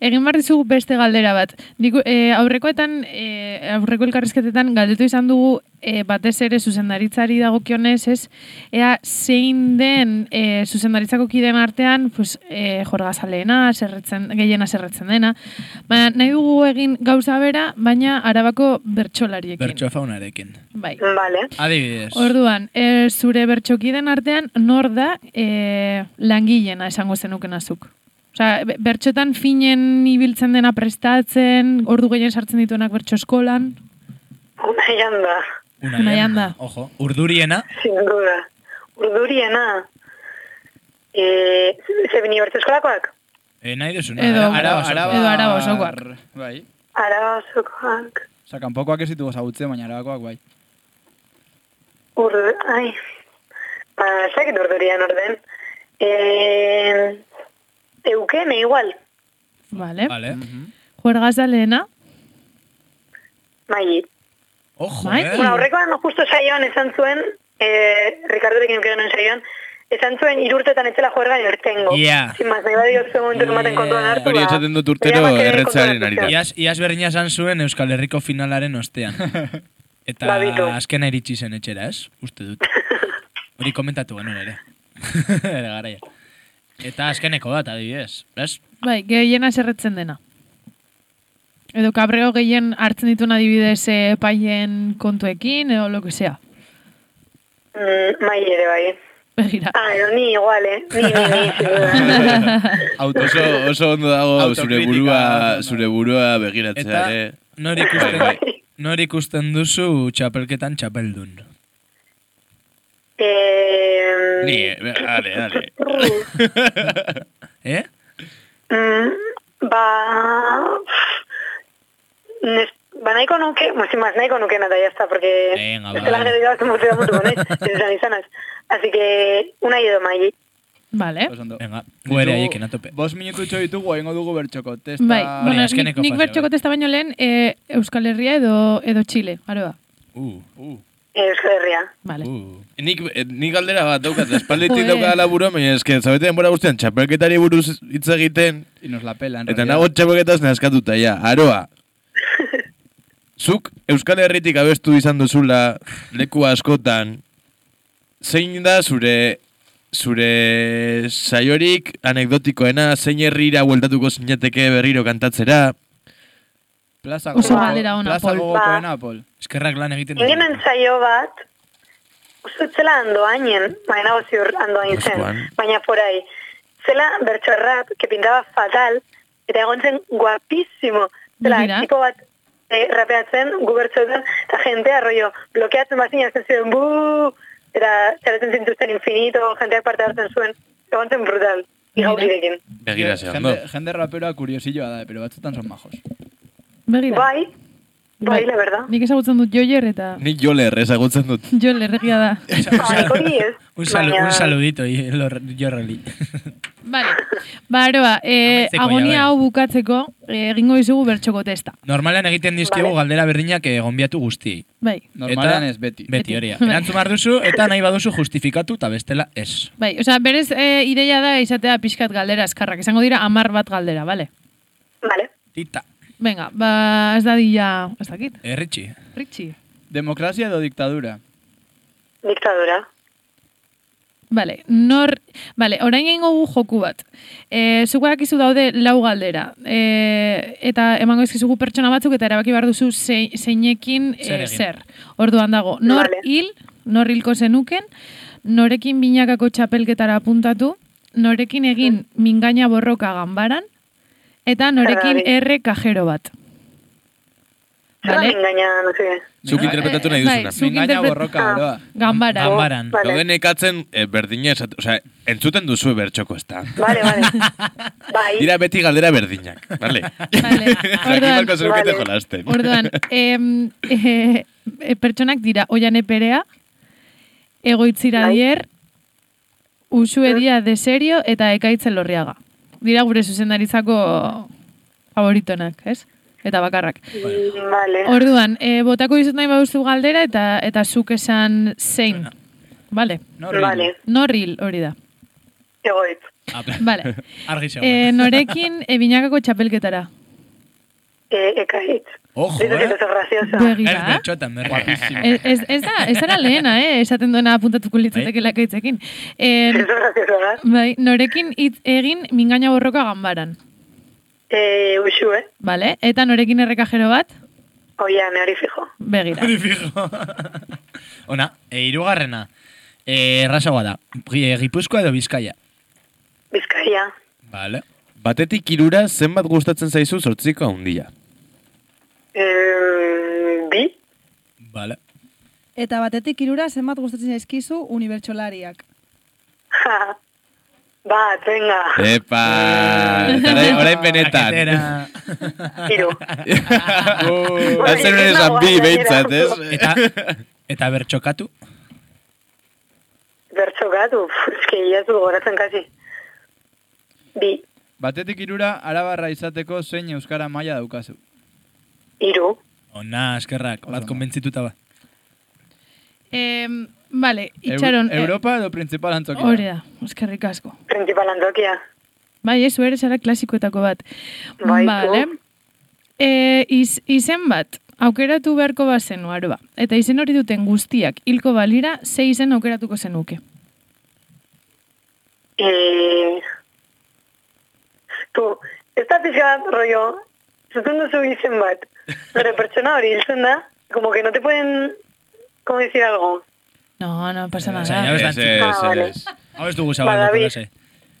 S4: egin behar dizugu beste galdera bat. Nik, eh, aurrekoetan, eh, aurreko elkarrizketetan galdetu izan dugu eh, batez ere zuzendaritzari dagokionez, ez? Ea zein den eh, zuzendaritzako kideen artean, pues, eh, jorgazaleena, zerretzen, gehiena zerretzen dena. Baina nahi dugu egin gauza bera, baina arabako bertsolariekin.
S3: Bertsoa faunarekin.
S4: Bai.
S12: Vale.
S3: Adibidez.
S4: Orduan, eh, zure bertxokiden artean nor da eh, langileena esango zenuken azuk? Osea, be- bertxotan finen ibiltzen dena prestatzen, ordu gehien sartzen dituenak bertxo eskolan,
S12: Una janda,
S4: nahian da.
S3: Ojo, urduriena.
S12: sin duda. Urduriena. Eh, ze bini bertze eskolakoak?
S3: Eh, nahi duzuna.
S4: Edo-
S3: Ara- araba osokoa.
S1: Araba-
S4: Edo araba osokoak.
S1: ba- Bai.
S12: Araba osokoak.
S1: Osa, kanpokoak ez ditugu zautzen, baina arabakoak bai.
S12: Ur, ai, ba, zakit urdurian orden. Eh, eukene igual,
S4: Vale.
S3: Vale.
S4: Juergazaleena,
S12: maili.
S3: Ojo,
S4: Bai.
S3: eh?
S12: Bueno, aurrekoan justo saioan esan zuen, eh, Ricardorekin eukeronen saioan, esan zuen irurtetan etzela juergan irtengo.
S3: Yeah.
S12: Sin más, nahi badio zuen momentu ematen kontuan hartu,
S2: Hori
S12: ba.
S2: esaten dut urtero
S12: Erabakia
S2: erretzearen
S12: kontuan
S2: ari da.
S3: Iaz, iaz berdina esan zuen Euskal Herriko finalaren ostean. Eta
S12: Babitu.
S3: azkena iritsi zen etxera, ez? Uste dut. Hori komentatu genuen ere. ere garaia. Eta azkeneko bat, adibidez. Ez?
S4: bai, gehiena zerretzen dena. Edo kabreo gehien hartzen dituen adibidez eh, paien kontuekin, edo lo que sea.
S12: Mm, maili ere bai.
S4: Begira.
S12: Ah, edo ni igual, eh? Ni, ni, ni, sin duda.
S2: Oso, oso ondo dago zure
S3: Autokritika,
S2: burua, zure burua begiratzea
S3: Eta
S2: ere. Bai,
S3: nor ikusten, nor ikusten duzu txapelketan txapeldun.
S12: Eh,
S2: Ni, eh, ale, ale.
S3: Eh?
S12: mm, mm, ba... Nes, ba nahiko nuke, bueno, sin más, nahiko nuke nada, ya está, porque...
S3: Venga,
S12: es que la
S3: vale.
S12: gente lleva mucho tiempo con él, izan izanaz. Así que, una y edo maili.
S4: Vale.
S3: Venga, guere
S1: Ditugu-
S3: haiekin atope.
S1: Bost minutu itxo ditugu, egingo dugu bertxoko testa.
S4: Bai, bueno, nik, nik bertxoko testa baino lehen eh, Euskal Herria edo, edo Txile, aroa.
S2: Uh,
S12: Euskal Herria.
S4: Vale.
S2: Nik, eh, nik galdera bat daukat, espaldetik
S4: Joder.
S2: daukat laburo, baina eske, zabete denbora guztian, txapelketari buruz hitz egiten,
S1: Y nos la pelan.
S2: eta nago txapelketaz naskatuta, ja, aroa. Zuk Euskal Herritik abestu izan duzula, leku askotan, zein da zure zure saiorik anekdotikoena, zein herrira bueltatuko zinateke berriro kantatzera.
S1: Plaza
S4: Oso
S1: gogoko-
S4: galdera ona,
S1: Plaza
S4: Pol.
S1: gogokoen
S12: Ba.
S1: Apol.
S3: Eskerrak lan
S1: Bai.
S3: egiten
S12: Ingen entzaio bat, uste dut zela andoainen, baina nago ziur andoain zen,
S3: Askoan.
S12: baina por ahí. Zela bertxorrat, que pintaba fatal, eta egon zen guapísimo. Zela,
S4: Begira.
S12: tipo bat eh, rapeatzen, gu bertxoetan, eta jentea rollo, blokeatzen bazina, zen ziren, buu, eta txaretzen zintuzten infinito, jenteak parte hartzen zuen, egon zen brutal, igaukirekin.
S2: Begira, ze
S1: Jende, jende raperoa kuriosilloa da, pero batzutan son majos.
S4: Begira.
S12: Bai, Bai, la verdad.
S4: Nik ezagutzen dut Joier eta
S2: Nik jole ezagutzen dut.
S4: Joel erregia da.
S12: Bai, Hori ez.
S3: Un, salu-
S12: baina-
S3: un saludito, y- lo- yo rally.
S4: Vale. Ba, aroa, eh,
S3: Amaitzeko ja, bai.
S4: agonia hau bukatzeko, eh, egingo dizugu bertxoko testa.
S3: Normalean egiten dizkigu galdera berdinak eh, gonbiatu guztiei.
S4: Bai.
S1: Normalean
S3: Eta-
S1: ez, beti.
S3: Beti, hori.
S4: Bai.
S3: Erantzun behar duzu, eta nahi baduzu justifikatu, eta bestela ez.
S4: Bai, osea, berez eh, ideia da izatea pixkat galdera eskarrak. Esango dira amar bat galdera, bale?
S3: Tita.
S4: Venga, ba, ez dadila, ez dakit,
S3: Erritxi.
S4: Ritxi.
S1: Demokrazia edo diktadura?
S12: Diktadura.
S4: Vale, nor, vale, orain egingo gu joku bat. E, zuko dakizu daude lau galdera. E, eta emango izkizugu pertsona batzuk eta erabaki behar duzu zei- zeinekin e,
S6: Zer egin.
S4: zer. Orduan dago, nor hil, nor hilko zenuken, norekin binakako txapelketara apuntatu, norekin egin mingaina borroka ganbaran, eta norekin
S12: Zergatik.
S4: erre kajero bat.
S12: Zer
S4: Vale.
S12: da mingaina, no sé.
S2: Zuk interpretatu nahi
S4: Bai,
S2: duzuna.
S4: zuk Mingaina interpre- borroka, Ah. aroa. Ganbaran. Ganbaran. Vale.
S2: Daudenek atzen eh, berdina esatu, osea, entzuten duzu bertxoko ez da.
S12: Vale, vale. Bai.
S2: Dira beti galdera berdinak, vale? Jakin barko zenukete
S4: Vale.
S2: jolasten.
S4: Orduan, em, eh, eh, pertsonak dira Oian Eperea, Egoitzira Dier, Usuedia de Serio eta Ekaitz Elorriaga. Dira gure zuzendaritzako favoritonak, ez? Eta bakarrak.
S12: Mm, Vale.
S4: Orduan, eh, botako dizut nahi baduzu galdera eta eta zuk esan zein. Vale.
S12: Norril. Vale.
S4: Norril, hori da.
S12: Egoitz.
S4: Vale.
S3: Argi zegoen.
S4: Eh, norekin ebinakako txapelketara.
S12: Eh, ekaitz.
S3: Ojo,
S12: Dice que
S3: eh?
S12: es graciosa.
S4: Begira.
S3: Ez bertxotan, berri.
S4: Ez, ez, ez da, ez dara lehena, eh? Esaten duena apuntatuko litzatekela
S2: Bai.
S4: kaitzekin. Eh, bai, norekin hitz egin mingaina borroka ganbaran,
S12: Eh, usue.
S4: bale? Eta norekin errekajero bat,
S12: Oian, hori fijo.
S4: begira.
S3: Hori fijo. Ona, e, irugarrena. E, errazagoa da. Gi- e, Gipuzkoa edo Bizkaia.
S12: Bizkaia.
S3: Vale.
S2: Batetik irura zenbat gustatzen zaizu sortziko handia.
S12: Eh, bi.
S3: Vale.
S13: Eta batetik irura zenbat gustatzen zaizkizu unibertsolariak.
S12: Bat, venga.
S2: Epa! Ah, Eta orain- orain benetan.
S12: Hiru.
S3: Oh,
S2: Atzen nuen esan bi behintzat, ez?
S3: Eta, eta bertxokatu.
S12: Bertso gatu, eski ez du goratzen kasi. Bi,
S1: Batetik irura, arabarra izateko zein euskara maila daukazu.
S12: hiru.
S3: Ona, eskerrak, bat konbentzituta ba.
S4: Eh, vale,
S1: Eu-
S4: itxaron. eh,
S1: Europa edo principal antzokia?
S4: Hori da, eskerrik asko.
S12: Principal antzokia.
S4: Bai, ez, ere zara klasikoetako bat.
S12: Bai, zu.
S4: vale. Eh, iz, izen bat, aukeratu beharko bazenu, aroa. Eta izen hori duten guztiak, hilko balira, ze izen aukeratuko zenuke.
S12: Eh, tu, ez da pixka bat rollo, zuten duzu izen bat, pero pertsona hori hiltzen da, como que no te pueden, como decir algo.
S4: No, no
S2: Eh,
S4: pasa nada.
S3: Osea, ya ves
S2: Ez,
S3: dantzik.
S2: ez, Ah, vale.
S12: ez.
S3: Hau ez dugu
S12: Ba,
S3: zabaldu,
S12: David.
S3: kolase.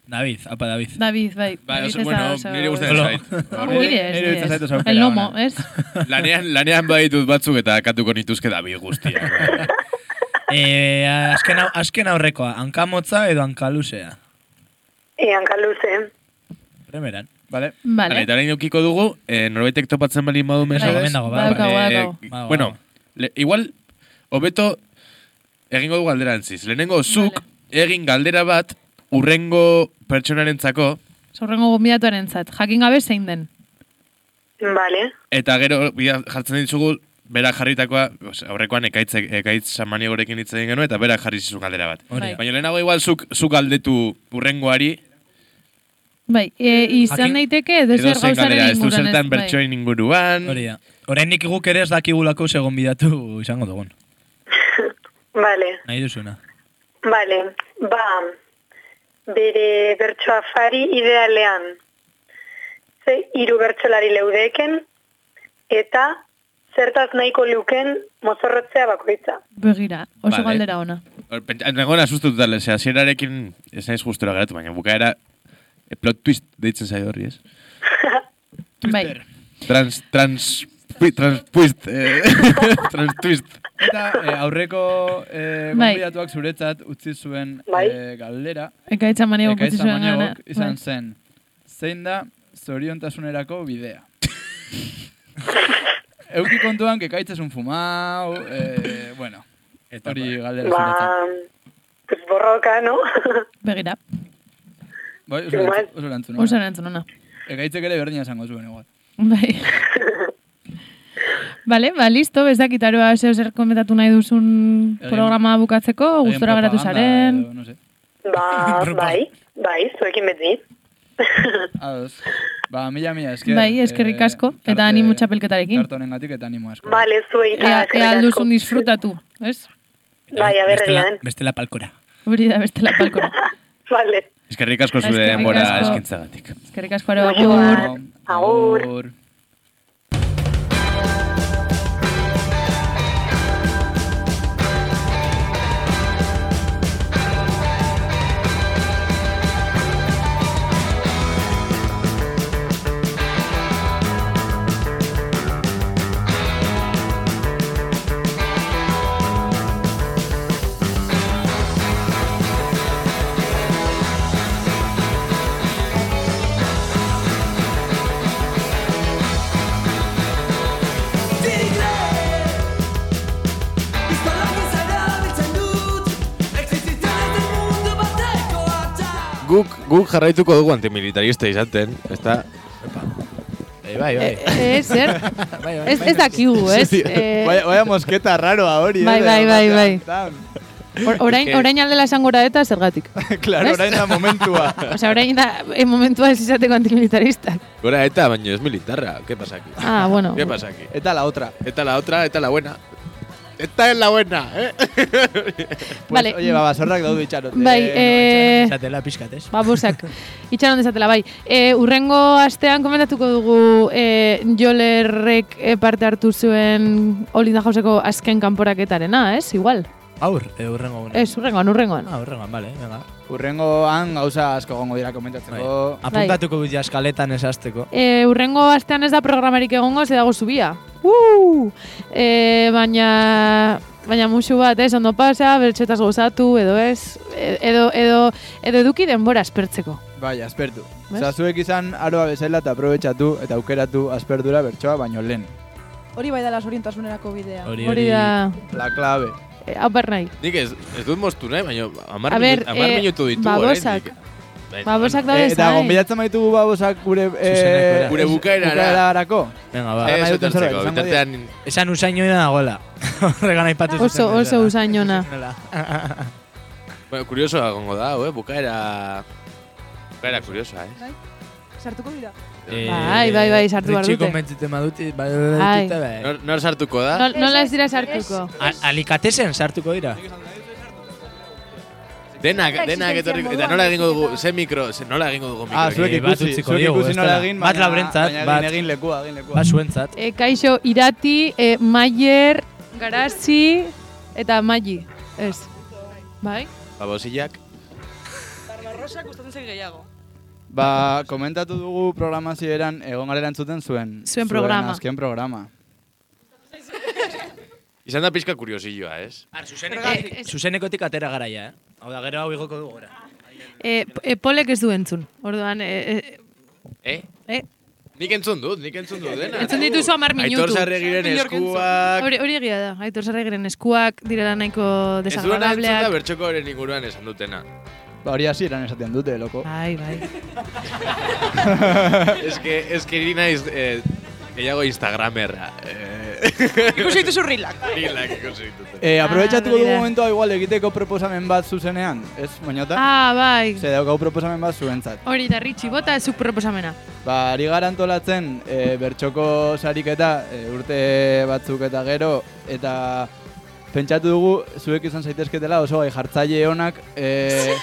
S3: David, apa David.
S4: David, bai.
S2: Bai,
S4: David
S2: oso,
S4: ez da
S2: bueno,
S4: oso-
S2: nire gustatzen
S3: Olo.
S2: zait.
S4: Guri ez,
S1: Nire
S4: nire
S1: iruditzen
S4: ez.
S1: zait oso aukera
S4: El lomo, ez?
S2: Lanean, lanean baditut batzuk eta katuko nituzke eh. da bi guztia.
S3: E, azken, hau- azken aurrekoa, hankamotza edo hankaluzea.
S12: E, hankaluze.
S3: Primeran.
S1: Vale.
S2: Vale, eta orain edukiko dugu, eh, norbaitek topatzen bali badu mesedez.
S3: Bai, badago, badago.
S2: Eh,
S3: Badaukagu, badaukagu.
S2: bueno, le, igual, hobeto, egingo du galdera antziz. Lehenengo, zuk, egin galdera bat, urrengo pertsonarentzako,
S4: Zorrengo gombidatuaren zat. Jakin gabe zein den.
S12: Vale.
S2: eta gero bia- jartzen ditugu, bera jarritakoa, os, aurrekoan ekaitz, ekaitz samaniagorekin hitz egin genuen, eta bera jarri zizu galdera bat.
S4: Hori da.
S2: Baina lehenago igual zuk, zuk galdetu urrengoari,
S4: Bai, e, izan
S2: Jakin-
S4: daiteke edo
S2: edo
S4: zer
S2: zein
S4: gauzaren
S2: galdera, ez du
S4: inguruan
S2: zertan
S4: bai.
S2: bertsoen
S1: Mm.
S2: inguruan.
S3: Hori da. Oraindik guk ere ez dakigulako segon bidatu izango dugun.
S12: Vale,
S3: Nahi duzuna.
S12: vale. Ba, bere bertsoa fari idealean. Ze, hiru bertsolari leudeken, eta zertaz nahiko luken mozorrotzea bakoitza.
S4: Begira, oso
S2: Vale.
S4: galdera ona.
S2: Nagoen asustuta, lese, hasierarekin ez naiz gustura geratu, baina bukaera eh, plot twist deitzen zaio horri, ez?
S4: Bai.
S2: Trans, trans, pi- trans twist, eh, trans twist.
S1: Eta eh, aurreko eh,
S4: Bai.
S1: gonbidatuak zuretzat utzi zuen
S12: Bai.
S1: eh, galdera.
S4: Ekaitz
S14: Bai,
S4: amaniagok
S1: Ekaitz
S4: utzi zuen
S1: Amaniagok
S4: gana,
S1: izan
S4: bai.
S1: zen. Zein da zoriontasunerako bidea?
S15: euki kontuan, kekaitzazun fumau, eh, bueno,
S16: bai.
S15: hori galdera zuretzat.
S12: Ba, pues borroka, no?
S14: Begira.
S15: Bai, oso
S12: Ba, igual.
S15: erantzu- oso erantzun.
S14: Oso erantzun ona.
S15: Ekaitzek ere berdina esango zuen, igual.
S14: Bai. Vale, ba, listo, bezakit aroa zeo zer komentatu nahi duzun
S15: Egin-
S14: programa bukatzeko,
S15: egin
S14: gustora geratu
S15: propaganda
S14: zaren.
S15: edo, no sé.
S12: Ba, bai, bai, zuekin beti.
S15: Ados. Ba, mila, mila, esker. eh,
S14: Bai, eskerrik asko, eta animo txapelketarekin.
S15: Tarte honengatik eta animo asko.
S12: Bale, zuei
S14: Ea,
S12: da,
S14: ea
S12: eskerrik asko.
S14: alduzun disfrutatu, ez?
S12: Bai, aberrean.
S16: Bestela palkora.
S14: Hori da, bestela palkora.
S12: Vale.
S17: Eskerrik asko zure
S14: Eskerrik
S17: denbora
S14: asko.
S17: eskintzagatik.
S14: Eskerrik asko aroa,
S12: Goxoak.
S14: agur.
S12: Agur.
S6: este
S2: Guk, guk jarraituko dugu antimilitarista izaten, ezta? Bai, bai, bai.
S4: Eh, zer? Ez, ez dakigu, ez? Eh,
S1: Vaya, vaya mosqueta raroa hori,
S4: Bai,
S1: eh,
S4: bai,
S1: de
S4: bai,
S1: batean,
S4: bai.
S1: tan.
S4: Or- orain, orain aldela esango gora eta zergatik.
S1: Claro,
S4: Ez?
S1: orain da momentua.
S4: Osea, orain da eh, momentua ez izateko antimilitaristak.
S2: Gora eta, baina ez militarra. ¿Qué pasa aquí?
S4: Ah, bueno.
S2: ¿Qué pasa aquí?
S1: Eta la otra.
S2: Eta la otra, eta la buena. Eta es la buena, eh?
S1: Pues,
S4: Vale.
S1: Oye, babazorrak daudu itxarote.
S4: Bai, eh,
S1: Zatela pixkat, ez?
S4: Babosak. Itxaron dezatela, bai. E, urrengo astean komentatuko dugu e, jolerrek e, parte hartu zuen Olinda Jauseko azken kanporaketarena, ez? Igual.
S3: Aur, e, urrengo gunean.
S4: Ez, urrengoan, urrengoan.
S3: Ah, urrengoan, bale, venga.
S1: Urrengoan gauza asko gongo dira komentatzeko.
S2: Bai,
S3: Apuntatuko dut jaskaletan esazteko.
S4: E, urrengo astean ez da programarik egongo, ze dago zubia. Uh! E, baina baina musu bat, ez, ondo pasa, bertxetaz gozatu, edo ez, e- edo, edo, edo eduki denbora aspertzeko.
S1: Bai, aspertu.
S4: Ves?
S1: Osea, zuek izan aroa bezala eta aprobetxatu eta aukeratu aspertura bertsoa baino lehen.
S10: Hori bai dela orientasunerako bidea.
S1: Hori,
S4: Hori da,
S1: La clave.
S4: e, hau behar nahi.
S2: Nik ez, ez dut moztu nahi, baina amar,
S4: A ber,
S2: minut, amar
S4: eh,
S2: minutu Bai, ditu.
S4: babosak.
S2: Ba,
S4: Babosak
S1: Eh,
S4: Ba, daude
S1: eta
S4: zain.
S1: gonbidatzen maitugu babosak gure...
S3: Zuzenekora.
S1: gure
S3: Gure bukaerara.
S1: bukaerarako.
S3: Venga,
S2: bai,
S1: ba. Ez,
S3: ba.
S1: etortzeko, Zerbait, esango bitartean-
S3: Esan usainoena dagoela. Horregan aipatu zuten
S4: Oso,
S3: bezala.
S4: oso usainona.
S2: Bueno, kuriosoa gongo da, hau, eh? Bukaera... Bukaera kuriosoa, eh?
S10: Sartuko dira.
S3: Eh,
S4: Bai, bai, bai, sartu behar
S3: Ritxiko
S4: dute.
S3: mentzuten badute,
S4: Ai.
S3: badute, bai.
S2: Nor, nor sartuko
S4: Nol- Nola ez dira sartuko?
S3: A- Alikatesen sartuko dira.
S2: Denak,
S3: Eta
S2: denak
S3: existentzia
S2: etorriko,
S3: moduan
S2: eta nola egingo dugu, ze mikro, ze nola egingo dugu mikro.
S3: Ah, zuek
S2: Eh,
S3: ikusi,
S2: bat utziko
S3: zuek
S2: diogu,
S3: ikusi
S2: ez
S3: nola
S2: dela.
S3: egin, Bat baina- laurentzat, baina egin, bat- egin
S1: lekua, egin lekua.
S3: Ba zuentzat.
S4: E, kaixo, irati, e, maier, garazi eta maili. Ez. Bai?
S2: Babosillak.
S10: Barbarrosa gustatzen zen gehiago.
S1: Ba, komentatu dugu programazioeran egon gara erantzuten zuen.
S4: Zuen programa.
S1: azken programa.
S2: Izan da pixka kuriosilloa, ez?
S3: Ar, zuzeneko, zuzenekotik atera garaia, eh? Hau da, gero hau igoko dugu gora.
S4: E, e, polek ez du entzun. Orduan, e, e,
S2: Eh?
S4: Eh?
S2: Nik entzun dut, nik entzun dut dena.
S4: Entzun dituzu hamar minutu.
S2: Aitor Sarregiren
S4: Inork entzun.
S2: eskuak...
S4: hori, hori egia da. Aitor sarregiren eskuak, direla nahiko
S2: Ez duena entzun da
S4: desagradableak.
S2: bertxoko horren inguruan esan dutena.
S1: Ba, hori hasieran esaten dute, loko.
S4: Bai, bai.
S2: ez que, ez que ni naiz... Eh, gehiago Instagramerra. Eh,
S1: Ikusi
S2: dituzu rilak. Rilak ikusi ditut.
S1: Eh,
S2: Ah,
S1: aprobetxatuko dugu
S2: hori da.
S1: momentua igual egiteko proposamen bat zuzenean, ez, moñota?
S4: Ah, bai.
S1: Ze daukau proposamen bat zuentzat.
S4: Hori da, Ritxi, bota zuk proposamena.
S1: Ba, ari gara antolatzen e, bertxoko sariketa e, urte batzuk eta gero eta pentsatu dugu zuek izan zaitezketela oso gai jartzaile onak e,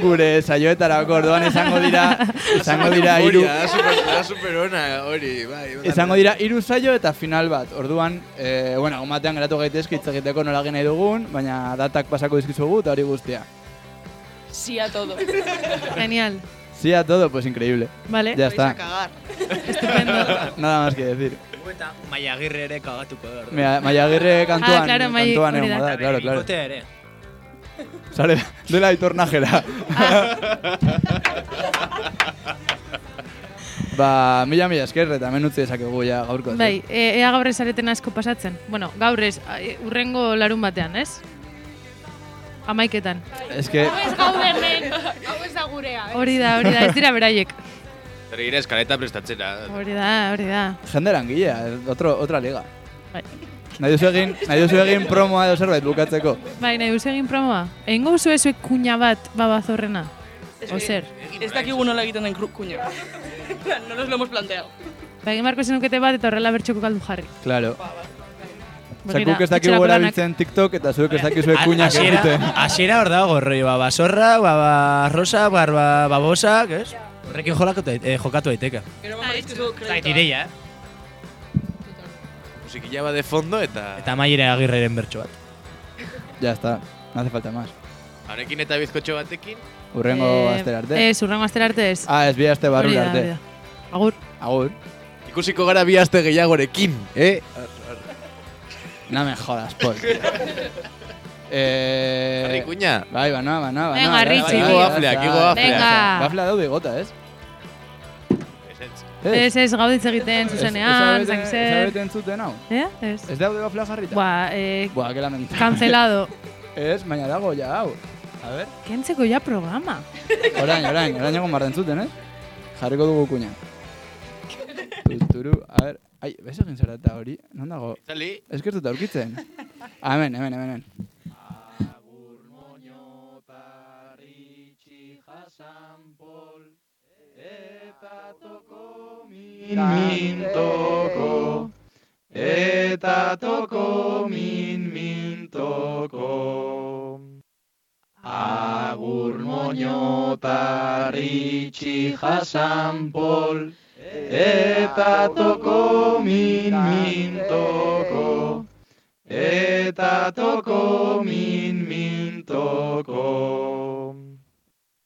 S1: gure saioetarako orduan izango dira izango dira hiru
S2: Memoria, Da super, da super ona hori, bai. ona.
S1: izango dira hiru saio eta final bat. Orduan, e, bueno, egun batean geratu gaitezke hitz egiteko nola egin nahi dugun, baina datak pasako dizkizugu eta hori guztia.
S10: Sí a todo.
S4: Genial.
S1: Sí a todo, pues increíble.
S4: Vale.
S1: Ya está.
S10: cagar.
S1: Nada más que decir.
S3: Eta Maia Agirre ere kagatuko da.
S1: Mira, Maia Agirre kantuan,
S4: Ah, claro, Mai-
S1: kantuan
S4: hori
S1: egongo
S4: da.
S1: da, claro, claro.
S3: Bikotea ere.
S1: Sale de la itornajera. Ba, mila mila esker eta hemen utzi dezakegu ja gaurko.
S4: Bai, e, ea gaur ez areten asko pasatzen. Bueno, gaur ez, a- e, urrengo larun batean, ez? Amaiketan.
S1: Eske,
S4: gaude hemen.
S7: Hau ez da gurea.
S4: Hori da, hori da, ez dira beraiek.
S2: Zer gira eskaleta prestatzera.
S4: Hori da, hori da.
S1: jende langilea, otro, otra liga.
S4: Bai.
S1: Nahi duzu egin, nahi duzu egin promoa edo zerbait bukatzeko.
S4: Bai, nahi duzu egin promoa. Egingo duzu ezuek kuña bat babazorrena. Ozer.
S7: Ez dakigu nola egiten den kru- kuña. En plan, no nos lo hemos planteado.
S4: Ba, egin barko zenukete bat eta horrela bertxoko kaldu jarri.
S1: Claro. Osea,
S4: Begira,
S1: guk ez dakigu
S4: etxerako lanak.
S1: erabiltzen TikTok eta zuek ez dakizue kuñak
S18: Hasiera-
S1: egiten.
S18: Hasiera hor dago gorroi, ba, basorra, ba, ba, rosa, ba, ba, babosak, ez? Horrekin jolako, eh, jokatu daiteke.
S7: Gero mamá dizkizu
S19: Zait
S7: kreditoa.
S19: ideia, eh?
S2: Musikilla ba de fondo eta...
S18: Eta maiera agirreren bertso bat.
S1: Ya está, no hace falta más.
S2: Honekin eta bizkotxo batekin.
S1: Urrengo
S4: Eh,
S1: astera arte.
S4: Ez, urrengo astera arte ez.
S1: Ah, ez bi aste
S4: Hori
S1: barrura
S4: da, hori
S1: arte.
S4: da. Agur.
S1: Agur.
S2: Ikusiko gara bi aste gehiagorekin, eh?
S1: No me jodas, Paul. eh...
S2: Jarri kuña.
S1: Bai, banoa, banoa, banoa.
S4: Venga,
S1: bai,
S4: Richie.
S1: bai, bai,
S4: Igo
S1: bai,
S2: gafleak,
S1: bai,
S2: igo
S1: bai.
S2: gafleak. Venga.
S1: Gaflea daude gota, ez?
S4: Ez, ez, gauditz egiten, zuzenean,
S1: ez-
S4: zain
S1: ez
S4: zer.
S1: hauete entzuten hau?
S4: Eh? Ez.
S1: Ez daude gaflea jarrita?
S4: Ba, eh,
S1: Buah, que lamentable.
S4: Cancelado.
S1: ez, baina dago ja hau. A ver.
S4: kentzeko ja programa.
S1: Orain, orain, orain egon barra entzuten, eh? Jarriko dugu kuña. Tuturu, a ver. Ai, bez egin zara eta hori, non dago?
S2: Itzali.
S1: Ez gertu eta aurkitzen. Ah, Hemen, hemen, hemen. hemen.
S3: min toko, eta toko min min toko. Agur moño taritxi jasan pol, eta toko min min toko, eta toko min min toko.